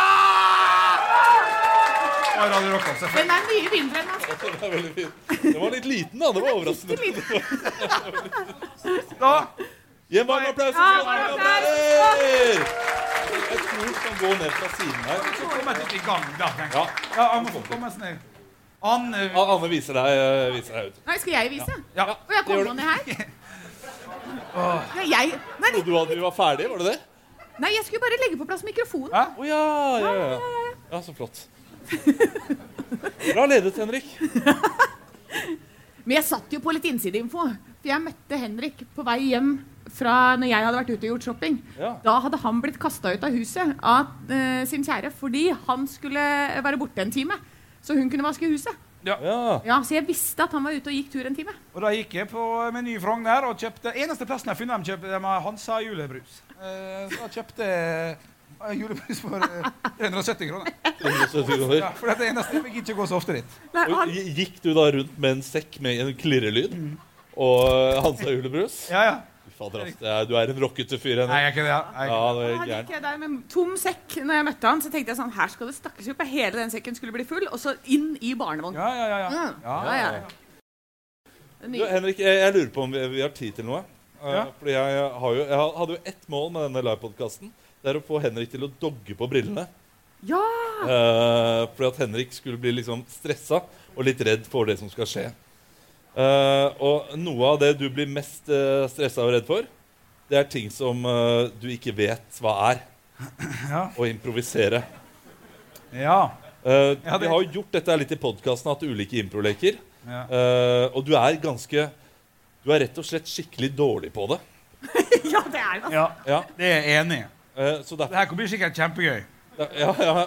Speaker 6: Og Radio Rock altså. også, selvfølgelig.
Speaker 5: Den er mye altså. villere enn man skal
Speaker 4: Den er veldig fin. Den var litt liten, da. Det var overraskende. (laughs)
Speaker 6: Da
Speaker 4: Gi en varm applaus.
Speaker 5: Ja,
Speaker 4: til
Speaker 5: varm
Speaker 4: Henrik
Speaker 5: applaus.
Speaker 4: Abler! Jeg tror han kan gå ned fra siden her.
Speaker 6: Så kommer jeg litt i gang, da. tenker
Speaker 4: Ja.
Speaker 6: jeg. Ja, Anne, få komme oss ned. Anne
Speaker 4: A- Anne viser deg, eh, viser deg ut.
Speaker 5: Nei, skal jeg vise?
Speaker 6: Ja.
Speaker 5: Og jeg
Speaker 4: gjør
Speaker 5: kommer
Speaker 4: du.
Speaker 5: ned her. Nei, jeg Nei,
Speaker 4: Og du, Anne, vi var ferdige, var det det?
Speaker 5: Nei, jeg skulle bare legge på plass mikrofonen.
Speaker 4: Å ja, ja, ja, ja. Ja, så flott. Bra ledet, Henrik.
Speaker 5: Men jeg satt jo på litt innsideinfo. For jeg møtte Henrik på vei hjem fra når jeg hadde vært ute og gjort shopping.
Speaker 4: Ja.
Speaker 5: Da hadde han blitt kasta ut av huset av eh, sin kjære fordi han skulle være borte en time. Så hun kunne vaske huset.
Speaker 4: Ja.
Speaker 5: Ja, Så jeg visste at han var ute og gikk tur en time.
Speaker 6: Og da gikk jeg på Meny i Frogner og kjøpte Eneste plassen jeg har funnet dem, kjøpte de har Hansa julebrus. Eh, Så da kjøpte jeg eh, julebrus for eh, 370 kroner.
Speaker 4: 370 kroner.
Speaker 6: Ja, for det er det eneste jeg gidder ikke gå så ofte dit.
Speaker 5: Nei,
Speaker 4: Og
Speaker 5: han,
Speaker 4: gi- Gikk du da rundt med en sekk med en klirrelyd og Hansa julebrus?
Speaker 6: Mm. Ja, ja.
Speaker 4: Fy Fader, ass, det er- du er en rockete fyr,
Speaker 6: Nei,
Speaker 4: Henrik.
Speaker 6: jeg er ikke det. ja. Jeg er
Speaker 4: Ja,
Speaker 6: ikke det.
Speaker 4: du er
Speaker 5: han
Speaker 4: gæren.
Speaker 5: gikk jeg der med tom sekk når jeg møtte han, så tenkte jeg sånn Her skal det stakkes opp. Hele den sekken skulle bli full, og så inn i barnevogn.
Speaker 6: Ja, ja, ja. ja.
Speaker 5: Mm.
Speaker 6: Ja,
Speaker 5: ja, ja.
Speaker 4: Du, Henrik, jeg, jeg lurer på om vi, vi har tid til noe. Eh,
Speaker 6: Ja.
Speaker 4: Fordi jeg, har jo, jeg ha- hadde jo ett mål med denne livepodkasten. Det er å få Henrik til å dogge på brillene.
Speaker 5: Ja!
Speaker 4: Eh, fordi at Henrik skulle bli liksom stressa og litt redd for det som skal skje. Eh, og noe av det du blir mest uh, stressa og redd for, det er ting som eh, du ikke vet hva er.
Speaker 6: Ja.
Speaker 4: Å improvisere.
Speaker 6: ja.
Speaker 4: Eh,
Speaker 6: Ja, det-
Speaker 4: Vi har jo gjort dette litt i podkasten, hatt ulike improleker.
Speaker 6: Ja.
Speaker 4: Eh, og du er ganske Du er rett og slett skikkelig dårlig på det.
Speaker 5: (laughs) Ja, det er det.
Speaker 6: ja.
Speaker 4: Ja,
Speaker 6: Det er jeg enig i.
Speaker 4: eh, så derfor,
Speaker 6: Det her blir sikkert kjempegøy.
Speaker 4: (laughs) ja, ja.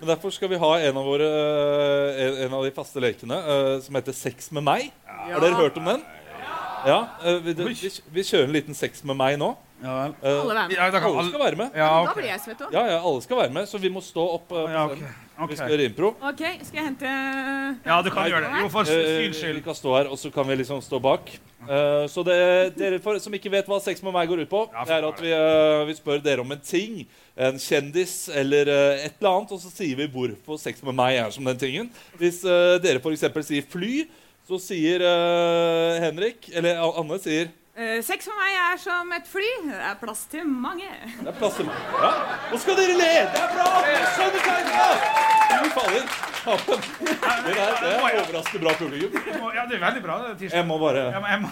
Speaker 4: Men derfor skal vi ha en av våre eh, en- En av de faste lekene eh, som heter Sex med meg. Har dere hørt om den? Ja, eh, vi, vi, vi kjører en liten Sex med meg nå.
Speaker 6: Ja vel.
Speaker 4: Eh,
Speaker 5: Alle venner.
Speaker 6: Ja, da kan
Speaker 4: alle
Speaker 6: alle
Speaker 4: skal være med.
Speaker 6: Ja,
Speaker 5: Da
Speaker 6: ok.
Speaker 5: blir jeg svett òg.
Speaker 4: Ja, ja, alle skal være med, så vi må stå opp. eh, på
Speaker 6: Ja, ok.
Speaker 4: scenen.
Speaker 6: Ok.
Speaker 4: Vi skal gjøre impro.
Speaker 5: OK, skal jeg hente
Speaker 6: ja, du kan gjøre det. Jo, for
Speaker 4: Eh,
Speaker 6: syns
Speaker 4: vi
Speaker 6: skyld.
Speaker 4: kan stå her, og så kan vi liksom stå bak. Eh, så det, dere for, som ikke vet hva sex med meg går ut på,
Speaker 6: Ja,
Speaker 4: det er at vi, eh, vi spør dere om en ting, en kjendis eller eh, et eller annet, og så sier vi hvorfor sex med meg er som den tingen. Hvis eh, dere f.eks. sier fly, så sier eh, Henrik Eller A- Anne sier
Speaker 5: Eh, Sex for meg er som et fly. Det er plass til mange.
Speaker 4: Det er plass til meg. Ja. Nå skal dere le! Det er bra! Dere Skjønner tegninga! Fy fader. Ja, men, det, der, det er overraskende bra publikum.
Speaker 6: Ja, det er veldig bra. det er tirsdag.
Speaker 4: Jeg må bare
Speaker 6: Ja, men jeg, må,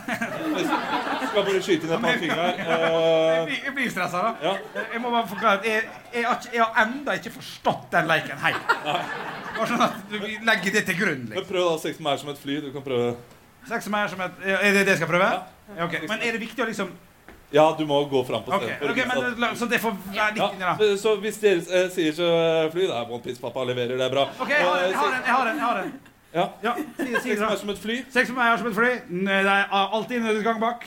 Speaker 4: skal bare skyte inn et par ting her.
Speaker 6: jeg,
Speaker 4: Eh,
Speaker 6: blir, jeg blir stressa, da.
Speaker 4: Ja.
Speaker 6: Jeg må bare forklare at jeg, jeg, har ikke- jeg har enda ikke forstått den leken helt. Bare sånn at du legger det til grunn.
Speaker 4: men
Speaker 6: Liksom.
Speaker 4: prøv da sex med meg som et fly. Du kan prøve.
Speaker 6: Sex som er som et Er det det jeg skal prøve? Ja, ok. Men er det viktig å liksom
Speaker 4: Ja, du må gå fram på
Speaker 6: OK,
Speaker 4: stedet. for å
Speaker 6: ok,
Speaker 4: vise
Speaker 6: men
Speaker 4: at-
Speaker 6: la- så det får være litt inni,
Speaker 4: ja,
Speaker 6: da.
Speaker 4: så hvis dere eh, sier så eh, fly, da er One Piece pappa leverer, det er bra.
Speaker 6: OK, jeg har
Speaker 4: Eh,
Speaker 6: en, jeg har en. jeg har en, jeg har en.
Speaker 4: Ja.
Speaker 6: Ja, si det, si
Speaker 4: Sex med
Speaker 6: det. da.
Speaker 4: meg som et fly.
Speaker 6: Sex som er som et fly. Nei, Det er alltid nødutgang bak.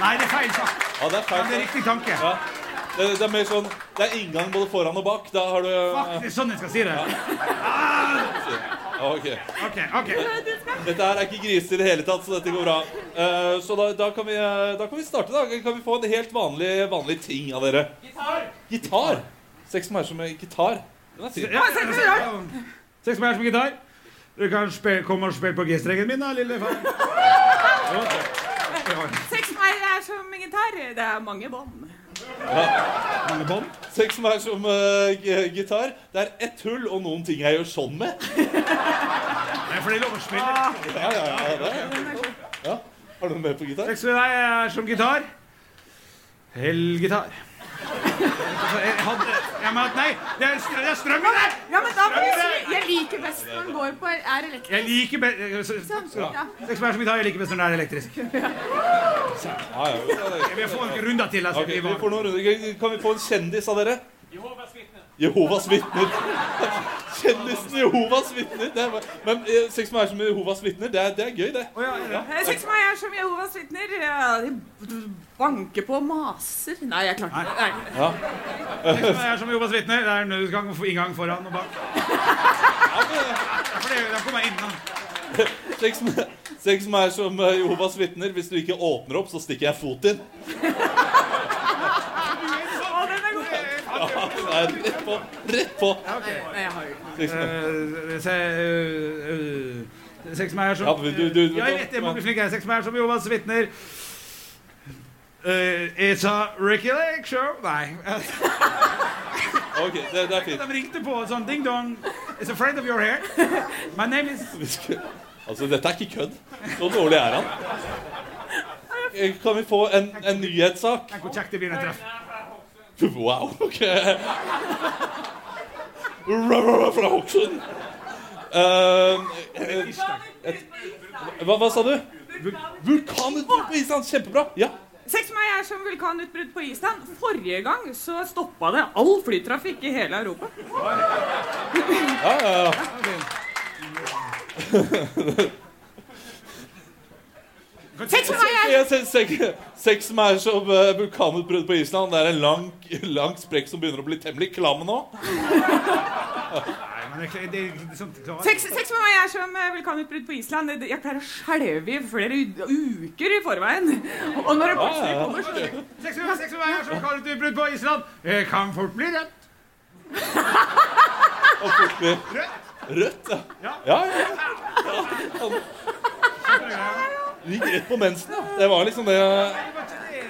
Speaker 6: Nei, det er feil sak.
Speaker 4: Ja, det er
Speaker 6: Men det er
Speaker 4: feil.
Speaker 6: riktig tanke.
Speaker 4: Ja. Det, det er mer sånn Det er inngang både foran og bak. Da har du
Speaker 6: Fuck,
Speaker 4: eh,
Speaker 6: det er sånn jeg skal si det.
Speaker 4: ja, OK.
Speaker 6: OK. ok.
Speaker 4: Dette her er ikke grisete i det hele tatt, så dette går bra. Eh, så da, da, kan vi, eh, da kan vi starte, da. Kan vi få en helt vanlig, vanlig ting av dere? Gitar. Sex med meg som en gitar. Den er fin.
Speaker 6: Ja, sex som er- sex som er som gitar. Du kan spe- komme og spille på G-strengen min, da, lille far.
Speaker 5: Sex for meg er som en gitar. Det er mange bånd.
Speaker 6: Mange bånd.
Speaker 4: Sex som er som eh, g- gitar. Det er ett hull og noen ting jeg gjør sånn med.
Speaker 6: Det er fordi det er lov å spille.
Speaker 4: Ja, ja, ja, det er- ja. Har du noe mer på gitar?
Speaker 6: Sex med deg er som gitar. Elgitar. Jeg hadde ja, men, Nei, det er, str det er strømmen der!
Speaker 5: Ja, men da må jeg si Jeg liker best når den går på er elektrisk.
Speaker 6: Jeg liker best ja.
Speaker 5: Sånn. Ja.
Speaker 6: Sex med deg som gitar, jeg liker best når den er elektrisk.
Speaker 4: Ja, ja, ja, ja.
Speaker 6: Vi får en runde til. Altså,
Speaker 4: Ok, vi får noen runder. Kan vi få en kjendis av dere? Jehovas vitner. (laughs) Kjendisen Jehovas vitner. Det er bare- Men eh, sex med meg som Jehovas vitner, det er, det er gøy, det.
Speaker 6: Å, ja, ja.
Speaker 5: Eh, Sex for meg er som Jehovas vitner. Ja, De banker på og maser. Nei, jeg klarte det. Nei.
Speaker 6: Sex med deg er som Jehovas vitner. Det er nødutgang, inngang foran og bak. Ja, for det, da kommer jeg inn, da.
Speaker 4: Sex med, sex med meg som eh, Jehovas vitner. Hvis du ikke åpner opp, så stikker jeg foten. (laughs)
Speaker 5: Å, den er god.
Speaker 4: Nei, rett på. Rett på.
Speaker 5: Nei, jeg har jo ikke.
Speaker 4: Sex med
Speaker 6: Eh, se, eh, eh, sex med meg er som
Speaker 4: Ja, men du- du- du-
Speaker 6: Ja, jeg vet det, jeg må bli flink. jeg. Sex med meg er som Jehovas vitner. Eh, it's a Ricky Lake show. Nei.
Speaker 4: Ok, det, det er fint.
Speaker 6: De ringte på og sånn ding dong. It's afraid of your hair. My name is
Speaker 4: Vi skulle- Altså, dette er ikke kødd. Så dårlig er han. eh, kan vi få en, en nyhetssak?
Speaker 6: Tenk hvor kjekt det blir når jeg treffer.
Speaker 4: Wow, ok. Rarara Fra Hokksund. Eh, hva, hva sa du? Vulkanutbrudd på Island. Kjempebra. Ja.
Speaker 5: 6. mai er som vulkanutbrudd på Island. Forrige gang så stoppa det all flytrafikk i hele Europa.
Speaker 4: Jeg ser- ser- Sex som er som eh, vulkanutbrudd på Island. Det er en lang, lang sprekk som begynner å bli temmelig klam nå.
Speaker 6: Nei, men det, er- det er liksom klart.
Speaker 5: Sex, sex med meg er som eh, vulkanutbrudd på Island. Det- Jeg pleier å skjelve i flere u- uker i forveien. Og når det plutselig kommer, så
Speaker 6: Seks med meg, seks med meg, jeg er som kallet utbrudd på Island. Jeg kan fort bli rødt.
Speaker 4: Og fort blir rødt. Ja, ja. ja, ja. Han- Det Gikk rett på mensen, ja. Det var liksom det Det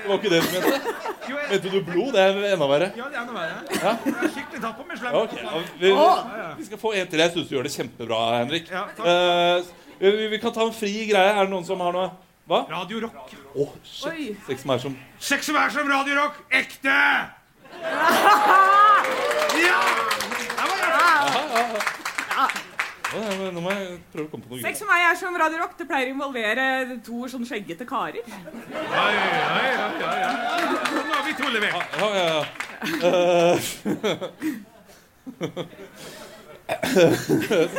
Speaker 4: var ikke det du mente.
Speaker 6: Jo, jeg,
Speaker 4: Mente du blod? Det er enda verre.
Speaker 6: ja, det er enda verre. Jeg har skikkelig tatt på meg slem.
Speaker 4: Ok, ja, vi, vi skal få en til. Jeg syns du gjør det kjempebra, Henrik.
Speaker 6: Ja, takk.
Speaker 4: Eh, vi, vi kan ta en fri greie. Er det noen som har noe? Hva?
Speaker 6: Radio Rock.
Speaker 4: Å, shit. Sex som er som
Speaker 6: Sex som er som Radio Rock, ekte! Ja! Der var det.
Speaker 4: Å, ja, men Nå må jeg prøve å komme på noe. gøy.
Speaker 5: Sex med meg er som Radio Rock. Det pleier å involvere to sånn skjeggete karer.
Speaker 6: Oi, oi, oi, oi, oi. Nå har vi to levert.
Speaker 4: Ja, ja, ja. (laughs) Eh,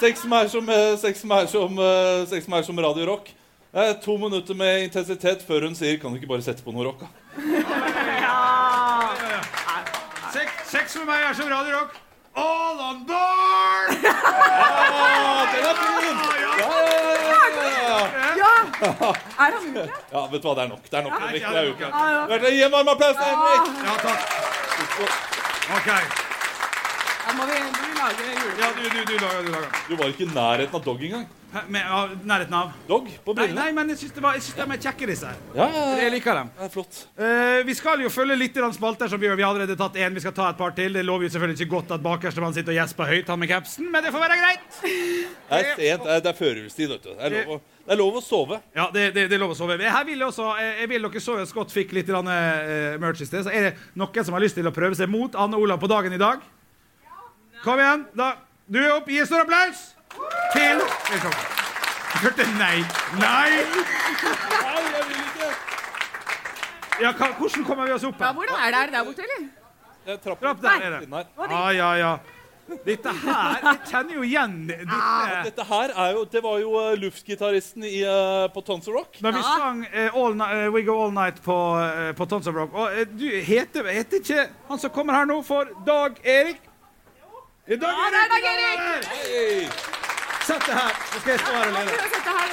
Speaker 4: sex som er som, eh, sex som, er som, eh, sex som, er som Radio Rock. Eh, to minutter med intensitet før hun sier 'Kan du ikke bare sette på noe rock', da?
Speaker 6: Sex, sex med meg er som Radio Rock. All on board!
Speaker 4: Ja, den er fin! Ja, ja, ja, ja, ja.
Speaker 5: Ja! Er han ute?
Speaker 4: ja, vet du hva, det er nok. Det er nok. Henrik, Det er jo ikke.
Speaker 5: Ja, ja.
Speaker 4: Vær så snill, Gi en varm applaus til Henrik!
Speaker 6: Ja, takk. OK.
Speaker 5: Da må vi, må vi lage jule...
Speaker 6: Ja, du, du, du lager, du lager.
Speaker 4: Du var ikke i nærheten av dog engang.
Speaker 6: Hæ, Med ja, nærheten av?
Speaker 4: Dog på
Speaker 6: Nei,
Speaker 4: brillene.
Speaker 6: nei men jeg syns de er kjekke, disse her.
Speaker 4: Ja, ja, ja.
Speaker 6: Jeg liker dem.
Speaker 4: Det er flott.
Speaker 6: Eh, vi skal jo følge litt grann spalter som vi gjør. Vi har allerede tatt én, vi skal ta et par til. Det lover jo selvfølgelig ikke godt at bakerstemann sitter og gjesper høyt, han med capsen, men det får være greit.
Speaker 4: Det er sent. Det er- Det er førjulstid, vet du. Det er lov å, det er lov å sove.
Speaker 6: Ja, det, det, det lover å sove. Her vil jeg også, eh, jeg vil dere så jo at Scott fikk litt grann, eh, merch i sted, så er det noen som har lyst til å prøve seg mot Anne Olav på dagen i dag? Kom igjen, da. Du er opp, gi en stor applaus til Velkommen. Hørte nei. Nei!
Speaker 4: Nei, jeg vil ikke.
Speaker 6: Ja, hva, hvordan kommer vi oss opp?
Speaker 5: Ja,
Speaker 6: her?
Speaker 5: hvordan er det? Er det der borte, eller?
Speaker 4: Det er trapper
Speaker 6: Trapp der er det.
Speaker 4: inn her.
Speaker 6: Ja, ja, ja. Dette her Jeg kjenner jo igjen dette.
Speaker 4: Dette her er jo, det var jo eh, luftgitaristen i, eh, på Tons of Rock.
Speaker 6: Når vi sang eh, all Ni- eh, We Go All Night på, eh, på Tons of Rock Og eh, du heter, heter ikke han som kommer her nå for Dag Erik? Ja, Dag
Speaker 5: Ja, det er Dag Erik!
Speaker 4: Hey!
Speaker 6: Sett deg her, så skal jeg stå her og lede.
Speaker 5: Kan du sitte her?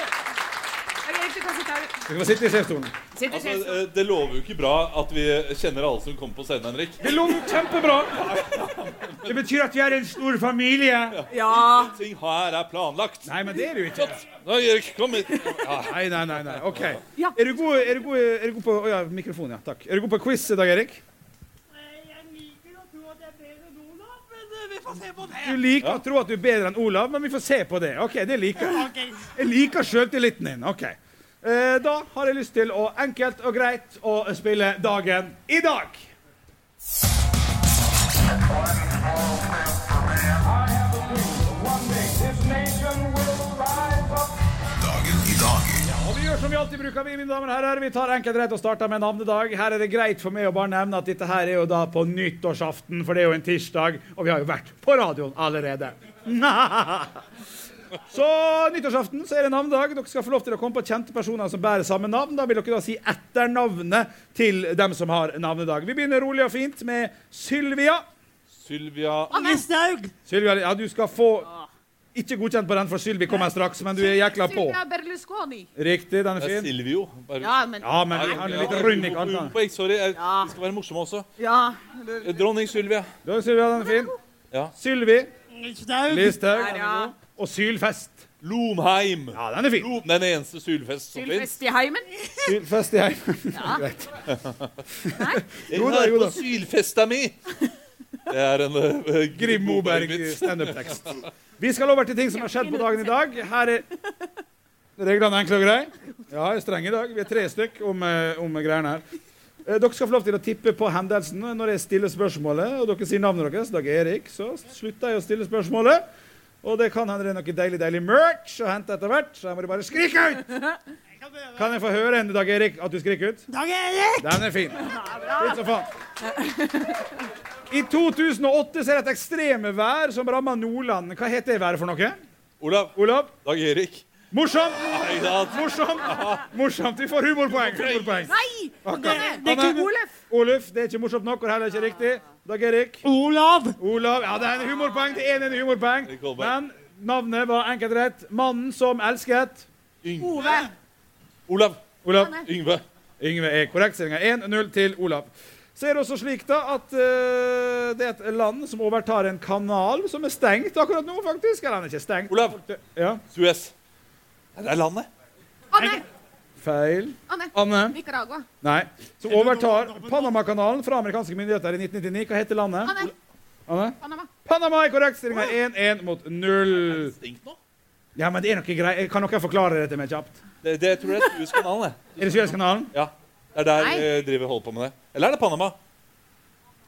Speaker 5: Er det riktig, kan du sitte her?
Speaker 6: Du kan sitte i sjefstolen.
Speaker 5: Sitt i
Speaker 4: Altså,
Speaker 5: skjegget.
Speaker 4: eh, det lover jo ikke bra at vi kjenner alle som kommer på scenen, Henrik.
Speaker 6: Det lover kjempebra. Det betyr at vi er en stor familie.
Speaker 5: Ja.
Speaker 4: Ting her er planlagt.
Speaker 6: Nei, men det er du ikke.
Speaker 4: Flott. Nå, Erik, kom hit. Ja.
Speaker 6: Nei, nei, nei. nei. OK.
Speaker 5: Ja.
Speaker 6: Er du god, er du god, er du god på Å ja, mikrofon, ja. Takk. Er du god på quiz, Dag Erik?
Speaker 3: eh,
Speaker 6: Du liker å tro at du er bedre enn Olav, men vi får se på det. Ok, det liker jeg. Jeg liker sjøltilliten din. ok. Eh, Da har jeg lyst til å enkelt og greit å spille dagen i dag. Og vi gjør som vi alltid bruker, vi, mine damer og herrer. Vi tar enkelt og greit og starter med navnedag. Her er det greit for meg å bare nevne at dette her er jo da på nyttårsaften, for det er jo en tirsdag, og vi har jo vært på radioen allerede. (laughs) Så nyttårsaften så er det navnedag. Dere skal få lov til å komme på kjente personer som bærer samme navn. Da vil dere da si etternavnet til dem som har navnedag. Vi begynner rolig og fint med Sylvia.
Speaker 4: Sylvia
Speaker 6: Sylvia, ja, du skal få ikke godkjent på den, for Sylvi kommer straks, men du er jækla på.
Speaker 5: Silvia Berlusconi.
Speaker 6: Riktig, den
Speaker 4: Det
Speaker 6: er
Speaker 4: er
Speaker 6: fin.
Speaker 4: eh, Silvio. Bare-
Speaker 5: Ja, men
Speaker 6: Ja, men han er litt rund i kantene.
Speaker 4: Poeng, Sorry, jeg, vi skal være morsomme også.
Speaker 5: Ja.
Speaker 4: Eh, Dronning Sylvia.
Speaker 6: Da er Sylvia, den er fin.
Speaker 4: Ja.
Speaker 6: Sylvi
Speaker 7: Listhaug.
Speaker 5: Der,
Speaker 6: Listhaug.
Speaker 5: ja.
Speaker 6: Og Sylfest.
Speaker 4: Lomheim.
Speaker 6: Ja, den er fin.
Speaker 4: Lom, den eneste sylfest som fins.
Speaker 5: Sylfest i heimen.
Speaker 6: Sylfest i heimen. Greit.
Speaker 4: Jeg
Speaker 6: Jo da,
Speaker 4: er
Speaker 6: jo da.
Speaker 4: på sylfesta
Speaker 6: (laughs)
Speaker 4: mi. Det er en uh,
Speaker 6: Grim Moberg standup-tekst. Vi skal over til ting som har skjedd på dagen i dag. Her er reglene enkle og greie. Ja, jeg er streng i dag. Vi er tre stykk om, eh, om greiene her. Eh, Dere skal få lov til å tippe på hendelsen når jeg stiller spørsmålet. Og dere sier navnet deres, Dag Erik, så slutter jeg å stille spørsmålet. Og det kan hende det er noe deilig deilig merch å hente etter hvert, så her må dere bare skrike ut! Kan jeg få høre en, Dag Erik, at du skriker ut?
Speaker 7: Dag Erik!
Speaker 6: Den er fin. Litt som faen. I 2008 så er det et ekstreme vær som rammer Nordland. Hva heter det været for noe?
Speaker 4: Olav.
Speaker 6: Olav?
Speaker 4: Dag Erik.
Speaker 6: Morsomt!
Speaker 4: Ikke sant?
Speaker 6: Morsomt! Morsomt. Vi får humorpoeng. humorpoeng.
Speaker 7: Det, det er ikke Olaf.
Speaker 6: Oluf, det er ikke morsomt nok, og det er heller ikke riktig. Dag Erik.
Speaker 7: Olav!
Speaker 6: Olav. Ja, det er en humorpoeng. Det er en enig humorpoeng.
Speaker 4: Erik Holberg.
Speaker 6: Men navnet var enkelt rett. Mannen som elsket
Speaker 4: Yngve. Olav.
Speaker 6: Olav.
Speaker 4: Yngve.
Speaker 6: Yngve er korrekt. Stillinga 1-0 til Olav. Så er det også slik da at eh, det er et land som overtar en kanal som er stengt akkurat nå, faktisk. Eller den er ikke stengt.
Speaker 4: Olav.
Speaker 6: Ja,
Speaker 4: Suez. Ja, Det er landet.
Speaker 8: Anne!
Speaker 6: Feil.
Speaker 8: Anne!
Speaker 6: Anne.
Speaker 8: Nicaragua.
Speaker 6: Nei. Som overtar Panamakanalen fra amerikanske myndigheter i 1999. Hva heter landet?
Speaker 8: Anne!
Speaker 6: Anne?
Speaker 8: Panama.
Speaker 6: Panama er korrekt. Stillinga 1-1 mot 0.
Speaker 4: Stinkt nå.
Speaker 6: Ja, men det er noe grei... Kan dere forklare dette mer kjapt?
Speaker 4: Det, det tror jeg er Suez-kanalen. det.
Speaker 6: Er det Suezkanalen?
Speaker 4: Ja. Det er der
Speaker 8: Nei.
Speaker 4: eh, driver holder på med det. Eller er det Panama?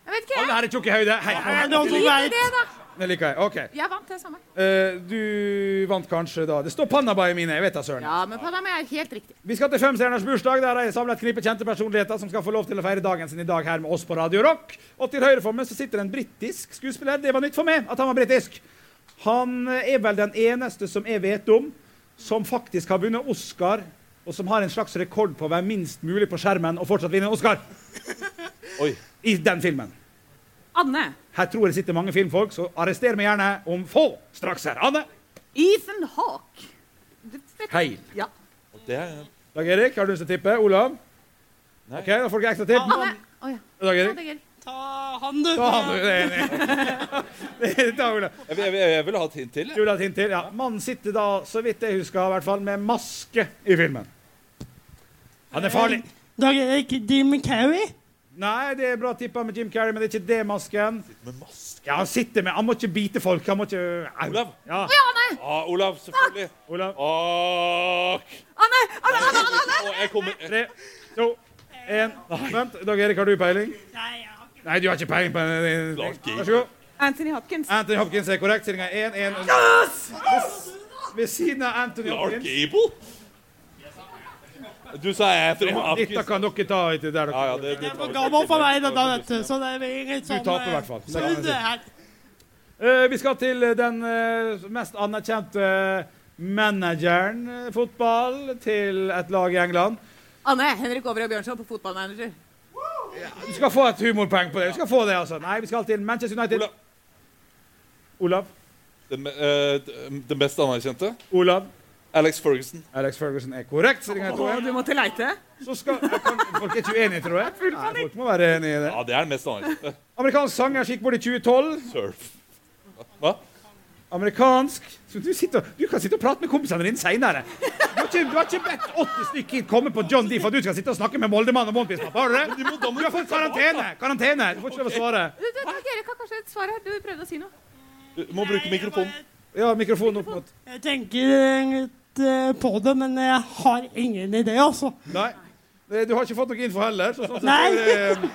Speaker 8: Jeg vet ikke,
Speaker 6: Alle her er tjukke i høyde. Hei, hei, hei.
Speaker 8: jeg. Det, da.
Speaker 6: Det liker jeg. OK.
Speaker 8: Jeg vant det samme.
Speaker 6: Eh, du vant kanskje da Det står Panama i mine. Jeg vet da søren.
Speaker 8: Ja, men Panama er helt riktig.
Speaker 6: Vi skal til Femstjerners bursdag, der har jeg samlet et knippe kjente personligheter som skal få lov til å feire dagen sin i dag her med oss på Radio Rock. Og til høyre for meg så sitter en britisk skuespiller. Det var nytt for meg at han var britisk. Han er vel den eneste som jeg vet om, som faktisk har vunnet Oscar, og som har en slags rekord på å være minst mulig på skjermen og fortsatt vinne Oscar
Speaker 4: (laughs) Oi.
Speaker 6: i den filmen.
Speaker 5: Anne.
Speaker 6: Her tror jeg det sitter mange filmfolk, så arrester meg gjerne om få straks her. Anne?
Speaker 5: Ethan Hawk.
Speaker 6: Feil.
Speaker 4: Og Det er
Speaker 6: Dag Erik, har du lyst til å tippe? Olav?
Speaker 4: Nei.
Speaker 6: OK, da får dere ekstra tipp.
Speaker 8: Anne. Å ja.
Speaker 6: Dag
Speaker 8: Ja,
Speaker 6: Erik?
Speaker 8: det er gøy.
Speaker 7: Ta han, du.
Speaker 6: Da har du det enig. Det tar Ola.
Speaker 4: jeg, vil- jeg, vil- jeg vil ha et hint til. jeg.
Speaker 6: Ola et hint til. Ja. Mannen sitter da, så vidt jeg husker, i hvert fall med maske i filmen. Han er farlig.
Speaker 7: Dag Erik Jim Carrey.
Speaker 6: Nei, det er bra tippa med Jim Carrey, men det er ikke det masken.
Speaker 4: Med maske.
Speaker 6: Ja, Han sitter med Han må ikke bite folk. Han må ikke Au.
Speaker 4: Olav.
Speaker 6: Ja,
Speaker 4: Ah, Olav, selvfølgelig.
Speaker 6: Olav.
Speaker 4: Ak.
Speaker 8: Anne! Anne, Anne, Anne, Anne!
Speaker 4: Å, jeg kommer
Speaker 6: Tre, to, én Vent, Dag Erik, har du peiling? Nei, du har ikke peiling på den.
Speaker 4: Klart ikke.
Speaker 6: Vær så god.
Speaker 5: Anthony Hopkins.
Speaker 6: Anthony Hopkins er korrekt. Stillinga er 1-1. Ved- Ved siden av Anthony
Speaker 4: Clark
Speaker 6: Hopkins
Speaker 4: Gable? Du sa jeg fra
Speaker 6: Dette
Speaker 4: Hopkins.
Speaker 6: kan dere ta etter der
Speaker 4: Ja,
Speaker 6: dere
Speaker 4: ja, det, det
Speaker 7: For gammel for meg, dette, vet du. Så det blir litt sånn
Speaker 6: taper i
Speaker 7: eh,
Speaker 6: hvert fall.
Speaker 7: Så det er
Speaker 6: Eh, vi skal til eh, den eh, mest anerkjente eh, manageren eh, fotball til et lag i England.
Speaker 8: Anne, Henrik Over og Bjørnson på fotballmanager.
Speaker 6: Du skal få et humorpoeng på det. Du skal få det, altså. Nei, vi skal til Manchester United.
Speaker 4: Olav.
Speaker 6: Olav.
Speaker 4: Den, eh, den best anerkjente?
Speaker 6: Olav.
Speaker 4: Alex Ferguson.
Speaker 6: Alex Ferguson er korrekt. Så, ringer jeg
Speaker 5: Og
Speaker 6: to
Speaker 5: du måtte leite.
Speaker 6: igjen. så skal jeg kan, Folk er ikke uenige, tror jeg. Nei, folk må være enige i det.
Speaker 4: Ja, det er den mest anerkjente.
Speaker 6: Amerikansk sanger gikk bort i 2012.
Speaker 4: Surf. Hva?
Speaker 6: Amerikansk Så du, sitter, og- du kan sitte og prate med kompisene dine seinere. Du, har ikke- du har ikke bedt åtte stykker komme på John D for at du skal sitte og snakke med Moldemann og Monpiss. Har du det?
Speaker 4: må- da må
Speaker 6: Du har fått karantene! karantene. Du får ikke lov å svare.
Speaker 8: Du, du, Dag Erik har kanskje et svar her. Du prøvde å si noe.
Speaker 4: Du må bruke mikrofonen.
Speaker 6: Ja, mikrofonen opp mot
Speaker 7: Jeg tenker litt eh, på det, men jeg har ingen idé, altså.
Speaker 6: Nei. Eh, Du har ikke fått noe info heller. Så sånn sett
Speaker 7: Nei.
Speaker 6: er det eh,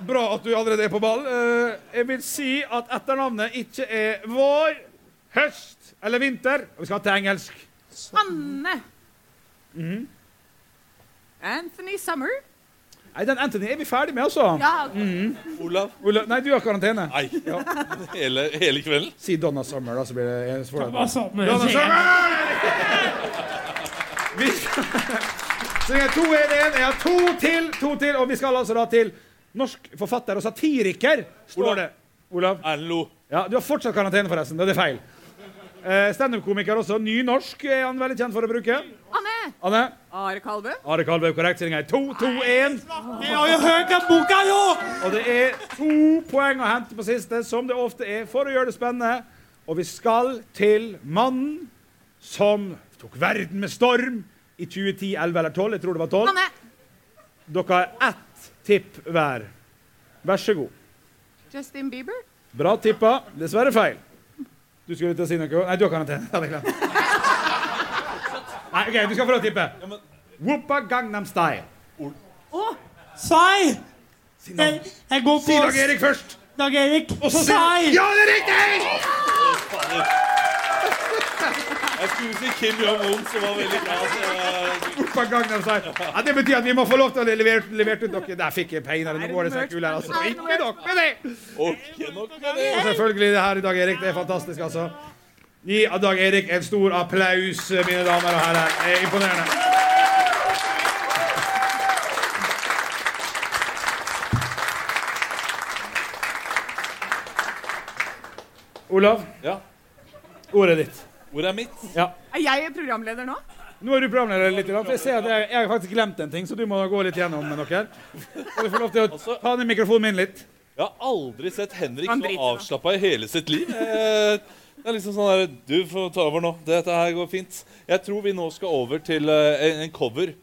Speaker 6: bra at du allerede er på ball. Eh, Jeg vil si at etternavnet ikke er vår, høst eller vinter. Og vi skal til engelsk.
Speaker 8: Anne. Anthony Summer.
Speaker 6: Nei, den Anthony er vi ferdig med, altså.
Speaker 8: Ja, ok.
Speaker 4: Olav.
Speaker 6: Ola- Nei, du har karantene.
Speaker 4: Nei. Hele, hele kvelden?
Speaker 6: Si Donna Summer, da, så blir det så får du-
Speaker 7: Altså, men-
Speaker 6: Jonas Hammer! Vi skal Så jeg har to, en, en. Jeg har to til, to til, og vi skal altså da til norsk forfatter og satiriker, står
Speaker 4: Olav.
Speaker 6: det. Olav.
Speaker 4: Erlend Lo.
Speaker 6: Ja, du har fortsatt karantene, forresten. Det er feil. Eh, Standup-komiker også. Nynorsk er han veldig kjent for å bruke.
Speaker 8: Anne.
Speaker 6: Anne.
Speaker 8: Are Kalve.
Speaker 6: Are Kalvø er korrekt. Stillinga er 2-2-1.
Speaker 7: Jeg har jo hørt den boka, jo!
Speaker 6: Og det er to poeng å hente på siste, som det ofte er, for å gjøre det spennende. Og vi skal til mannen som tok verden med storm i 2010, 11 eller 12. Jeg tror det var 12.
Speaker 8: Anne.
Speaker 6: Dere har ett tipp hver. Vær så god.
Speaker 8: Justin Bieber.
Speaker 6: Bra tippa. (laughs) Dessverre feil. Du skulle til å si noe Nei, du har karantene. Ja, det er klart. Nei, ok, Du skal få lov å tippe. Whoopa Gangnam Style.
Speaker 7: Sai!
Speaker 6: Si
Speaker 7: Jeg,
Speaker 6: navn.
Speaker 7: jeg går
Speaker 6: Si
Speaker 7: på
Speaker 6: Dag Erik først.
Speaker 7: Dag Erik.
Speaker 6: Og så sier
Speaker 7: Sai!
Speaker 6: Ja, det er riktig!
Speaker 4: Jeg skulle si Kim Jong-un, som var veldig bra. så, eh,
Speaker 6: Whoopa Gangnam Style. altså. Ja, det betyr at vi må få lov til å levere levert ut dere. Der fikk jeg pengene. Nå går det så kul her, altså. Ikke nok med det.
Speaker 4: Ok, nok med det.
Speaker 6: Og selvfølgelig det her i Dag Erik. Det er fantastisk, altså. Gi Dag Erik en stor applaus, mine damer og herrer. Det er imponerende. Olav,
Speaker 4: Ja.
Speaker 6: ordet er ditt.
Speaker 4: Hvor er mitt?
Speaker 5: Er jeg programleder nå?
Speaker 6: Nå er du programleder litt, for jeg ser at jeg, jeg har faktisk glemt en ting, så du må gå litt gjennom med dere. Og du får lov til å ta ned mikrofonen min litt.
Speaker 4: Jeg har aldri sett Henrik
Speaker 5: Han
Speaker 4: så
Speaker 5: driter, da.
Speaker 4: avslappa i hele sitt liv. Eh, Det er liksom sånn der, Du får ta over nå. Dette her går fint. Jeg tror vi nå skal over til eh, en- en cover.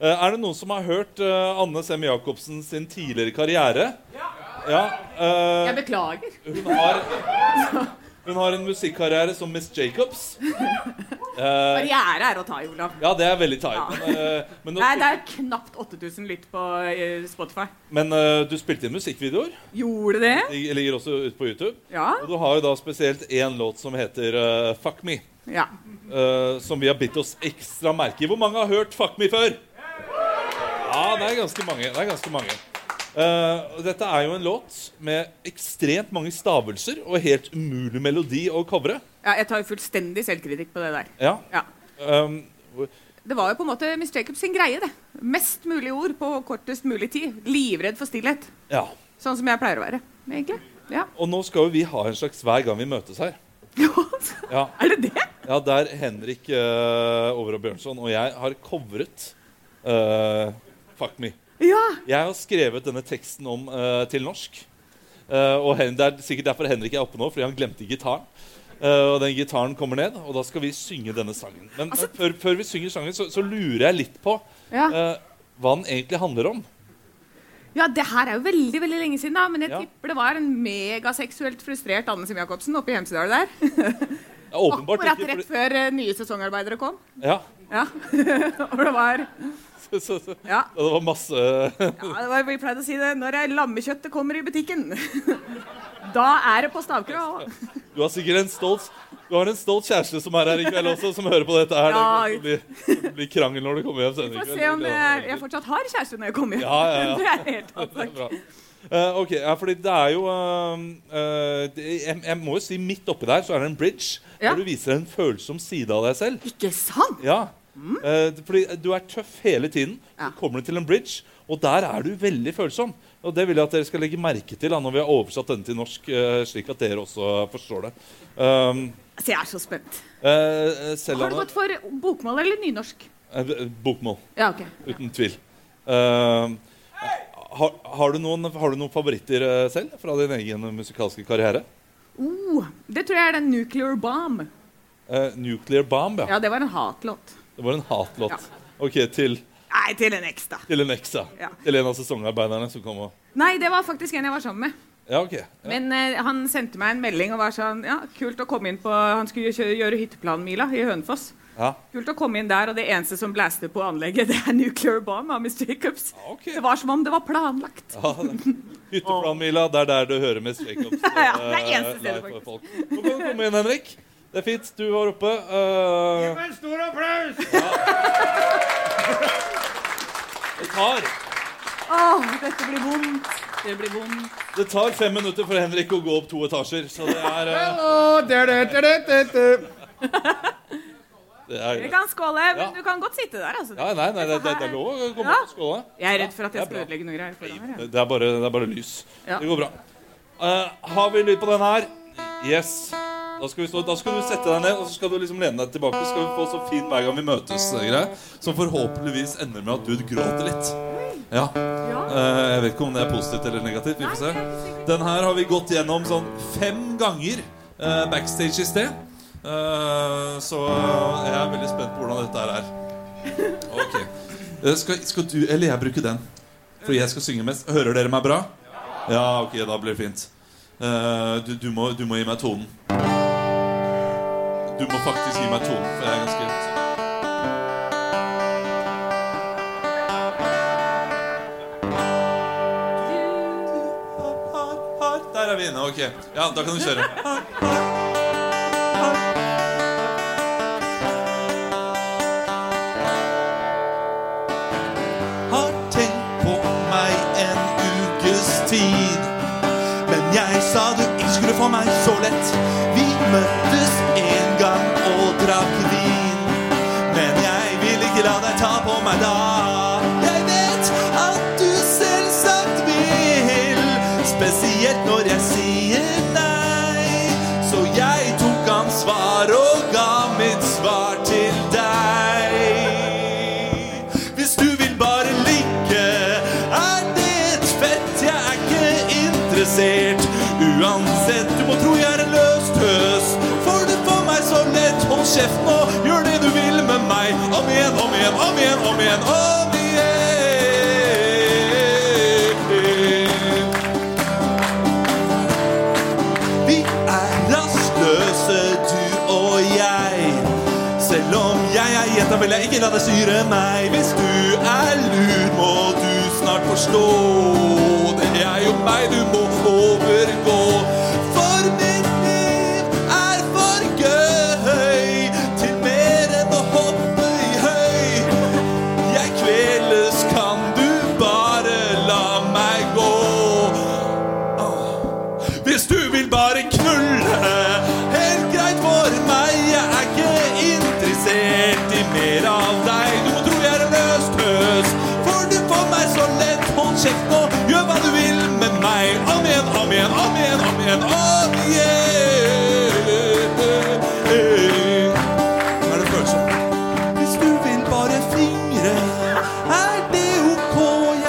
Speaker 4: Eh, Er det noen som har hørt eh, Anne Sem Jacobsen sin tidligere karriere? Ja. eh,
Speaker 5: Jeg beklager.
Speaker 4: hun, har, hun har en musikkarriere som Miss Jacobs. Eh,
Speaker 5: Barriere er å ta i, Olav.
Speaker 4: Ja, det er veldig tight. Men, eh, men,
Speaker 5: Nei, det
Speaker 4: du,
Speaker 5: er knapt 8000 lytt på eh, Spotify.
Speaker 4: men eh, du spilte inn musikkvideoer.
Speaker 5: Gjorde det?
Speaker 4: De ligger også ute på YouTube.
Speaker 5: Ja.
Speaker 4: Og du har jo da spesielt én låt som heter eh, Fuck Me.
Speaker 5: ja.
Speaker 4: eh, som vi har bitt oss ekstra merke i. Hvor mange har hørt Fuck Me før? Ja, det er ganske mange. Det er ganske mange. Eh, og dette er jo en låt med ekstremt mange stavelser og helt umulig melodi å covre.
Speaker 5: ja. Jeg tar jo fullstendig selvkritikk på det der.
Speaker 4: Ja.
Speaker 5: Ja.
Speaker 4: Um, hvor-
Speaker 5: Det var jo på en måte Miss Jacobs sin greie, det. Mest mulig ord på kortest mulig tid. Livredd for stillhet.
Speaker 4: ja.
Speaker 5: Sånn som jeg pleier å være, egentlig. Ja.
Speaker 4: Og nå skal jo vi ha en slags hver gang vi møtes her. Ja.
Speaker 5: er det det?
Speaker 4: Ja, der Henrik uh, Over og Bjørnson og jeg har covret eh, Fuck Me.
Speaker 5: Ja.
Speaker 4: Jeg har skrevet denne teksten om eh, til norsk. Eh, og Hen det er sikkert derfor Henrik er oppe nå, fordi han glemte gitaren. Eh, og den gitaren kommer ned, og da skal vi synge denne sangen. Men eh, før, før vi synger sangen, så, så lurer jeg litt på
Speaker 5: Altså- Ja.
Speaker 4: eh, hva den egentlig handler om.
Speaker 5: ja, det her er jo veldig veldig lenge siden, da, men jeg
Speaker 4: Ja.
Speaker 5: tipper det var en megaseksuelt frustrert Anne Sem Jacobsen oppe i Hemsedal der.
Speaker 4: Ja, åpenbart
Speaker 5: Akkurat
Speaker 4: ikke fordi-
Speaker 5: rett før eh, nye sesongarbeidere kom.
Speaker 4: Ja, (laughs)
Speaker 5: Ja. Og det var
Speaker 4: så, så, så.
Speaker 5: Ja.
Speaker 4: Ja, det var masse
Speaker 5: Ja, det var, vi pleide å si det. Når jeg- lammekjøttet kommer i butikken, (laughs) da er det på stavkra. og-
Speaker 4: Du har sikkert en stolt Du har en stolt kjæreste som er her i kveld også, som hører på dette her.
Speaker 5: Ja.
Speaker 4: Det blir, det blir krangel når du kommer hjem senere
Speaker 5: Får
Speaker 4: i kveld.
Speaker 5: se om jeg, jeg fortsatt har kjæreste når jeg kommer hjem.
Speaker 4: Ja, ja, ja.
Speaker 5: (laughs) Det
Speaker 4: (laughs)
Speaker 5: er helt annet
Speaker 4: Det er
Speaker 5: sak.
Speaker 4: bra. Eh, ok, ja, fordi det er jo eh, eh, det, jeg, jeg må jo si midt oppi der så er det en bridge
Speaker 5: Ja.
Speaker 4: hvor du viser en følsom side av deg selv.
Speaker 5: Ikke sant?
Speaker 4: Ja. Eh, fordi du er tøff hele tiden.
Speaker 5: Ja.
Speaker 4: Så kommer du til en bridge, og der er du veldig følsom. Og det vil jeg at dere skal legge merke til da, når vi har oversatt denne til norsk, eh, slik at dere også forstår det. Um,
Speaker 5: Altså, jeg er så spent.
Speaker 4: eh, selv
Speaker 5: Har du
Speaker 4: om
Speaker 5: gått for bokmål eller nynorsk?
Speaker 4: Eh, Bokmål.
Speaker 5: Ja, ok.
Speaker 4: Uten tvil. Eh, har, har, du noen, har du noen favoritter eh, selv fra din egen musikalske karriere?
Speaker 5: Oh, det tror jeg er den Nuclear Bomb.
Speaker 4: Eh, 'Nuclear Bomb', ja.
Speaker 5: Ja, det var en hatlåt.
Speaker 4: Det var en hatlåt.
Speaker 5: Ja.
Speaker 4: Ok, til,
Speaker 5: Nei, til en eks, da.
Speaker 4: til en eks, ja.
Speaker 5: Ja.
Speaker 4: Til en av sesongarbeiderne som kom og
Speaker 5: Nei, det var faktisk en jeg var sammen med.
Speaker 4: Ja, OK. Ja.
Speaker 5: Men eh, han sendte meg en melding og var sånn Ja, kult å komme inn på Han skulle kjøre, gjøre hytteplanmila i Hønefoss.
Speaker 4: ja.
Speaker 5: Kult å komme inn der, og det eneste som blæste på anlegget, (laughs) det er Nuclear Bomb av Miss Jacobs.
Speaker 4: ok.
Speaker 5: Det var som om det var planlagt.
Speaker 4: ja. Hytteplanmila, det er der du hører mest Jacobs.
Speaker 5: (laughs) Ja, det er
Speaker 4: eh,
Speaker 5: eneste stedet,
Speaker 4: live folk. Nå kan du komme inn, Henrik. Det er fint. Du var oppe. eh,
Speaker 6: En stor applaus! (laughs)
Speaker 4: det, tar,
Speaker 5: Åh, dette blir vondt. Det blir vondt.
Speaker 4: det tar fem minutter for Henrik å gå opp to etasjer, så det er, eh,
Speaker 6: Å, det, det, det, det, det, det.
Speaker 4: det er
Speaker 5: Vi kan skåle, men
Speaker 4: Ja.
Speaker 5: du kan godt sitte der, altså.
Speaker 4: Ja, nei, nei, det, det, det er lov å komme
Speaker 5: Ja.
Speaker 4: opp og skåle.
Speaker 5: Jeg er redd for at jeg
Speaker 4: det er
Speaker 5: skal
Speaker 4: bra.
Speaker 5: ødelegge noe greier foran her. jeg.
Speaker 4: Det, det, er bare, det er bare lys.
Speaker 5: Ja.
Speaker 4: Det går bra. Eh, har vi lyd på den her? Yes. Da skal, vi stå, da skal du sette deg ned og så skal du liksom lene deg tilbake. Så skal vi få så fin hver gang vi møtes. eh, Greie, som forhåpentligvis ender med at du gråter litt. Ja. Eh, jeg vet ikke om det er positivt eller negativt. Vi får se. Den her har vi gått gjennom sånn fem ganger eh, backstage i sted. Eh, så jeg er veldig spent på hvordan dette her er. Ok. Eh, skal, skal du eller jeg bruke den? For jeg skal synge mest. Hører dere meg bra? Ja, ok, da blir det fint. Eh, du, du, må, du må gi meg tonen. Du må faktisk gi meg tonen, for jeg er ganske vi inne. Ok. Ja, da kan du kjøre. Har tenkt på meg en ukes tid. Men jeg sa du ikke skulle få meg så lett. Vi møttes en gang og drakk vin. Men jeg vil ikke la deg ta på meg da. Jeg vet at du selvsagt vil. Spesielt når jeg sier nei. Så jeg tok ansvar og ga mitt svar til deg. Hvis du vil bare ligge, er det et fett jeg er ikke interessert. Uansett, du må tro jeg er en løs tøs. For det får meg så lett. Hold kjeft nå, gjør det du vil med meg. Om igjen, om igjen, om igjen, om igjen. Om igjen. Vi er rastløse, du og jeg. Selv om jeg er jenta, vil jeg ikke la deg styre meg. Hvis du er lur, må du snart forstå. Det er jo meg du må overgå. For mitt liv er for gøy til mer enn å hoppe i høy. Jeg kveles, kan du bare la meg gå? Åh. Hvis du vil bare knulle Helt greit for meg Jeg er ikke interessert i mer av deg Du må tro jeg er en løs tøs For du får meg så lett Hold kjeft nå, gjør hva du vil med meg Om igjen, om igjen, om igjen, om igjen Om igjen Hva er det følelsen? Hvis du vil bare fingre Er det ok?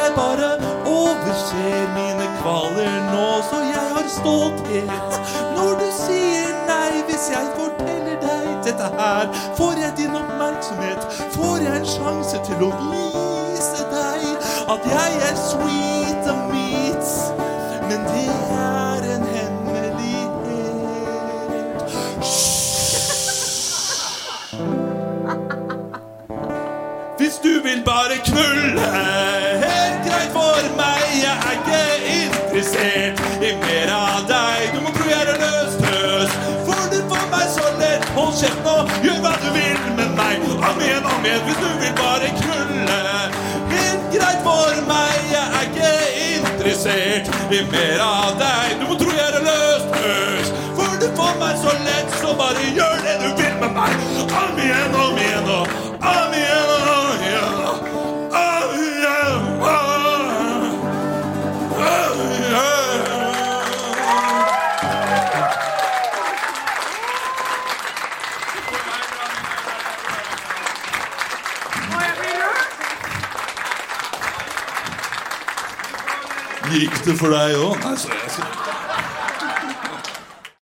Speaker 4: Jeg bare overser mine kvaler nå Så jeg har stolthet Når du sier nei Hvis jeg forteller deg dette her Får jeg din oppmerksomhet Får jeg en sjanse til å vise deg At jeg er sweet and meat Men det er en hemmelighet Hvis du vil bare knulle Helt greit for meg Jeg er ikke interessert I mer av deg Du må tro jeg er en løs tøs For du får meg så lett Hold kjeft nå Gjør hva du vil med meg Om igjen, om igjen Hvis du vil bare knulle Helt greit for meg Jeg er ikke interessert I mer av deg Du må tro jeg er en løs tøs For du får meg så lett Så bare gjør det du vil med meg Om igjen, om igjen og Om igjen, om igjen og Om igjen, om igjen Gikk det for deg òg? Nei, så jeg skal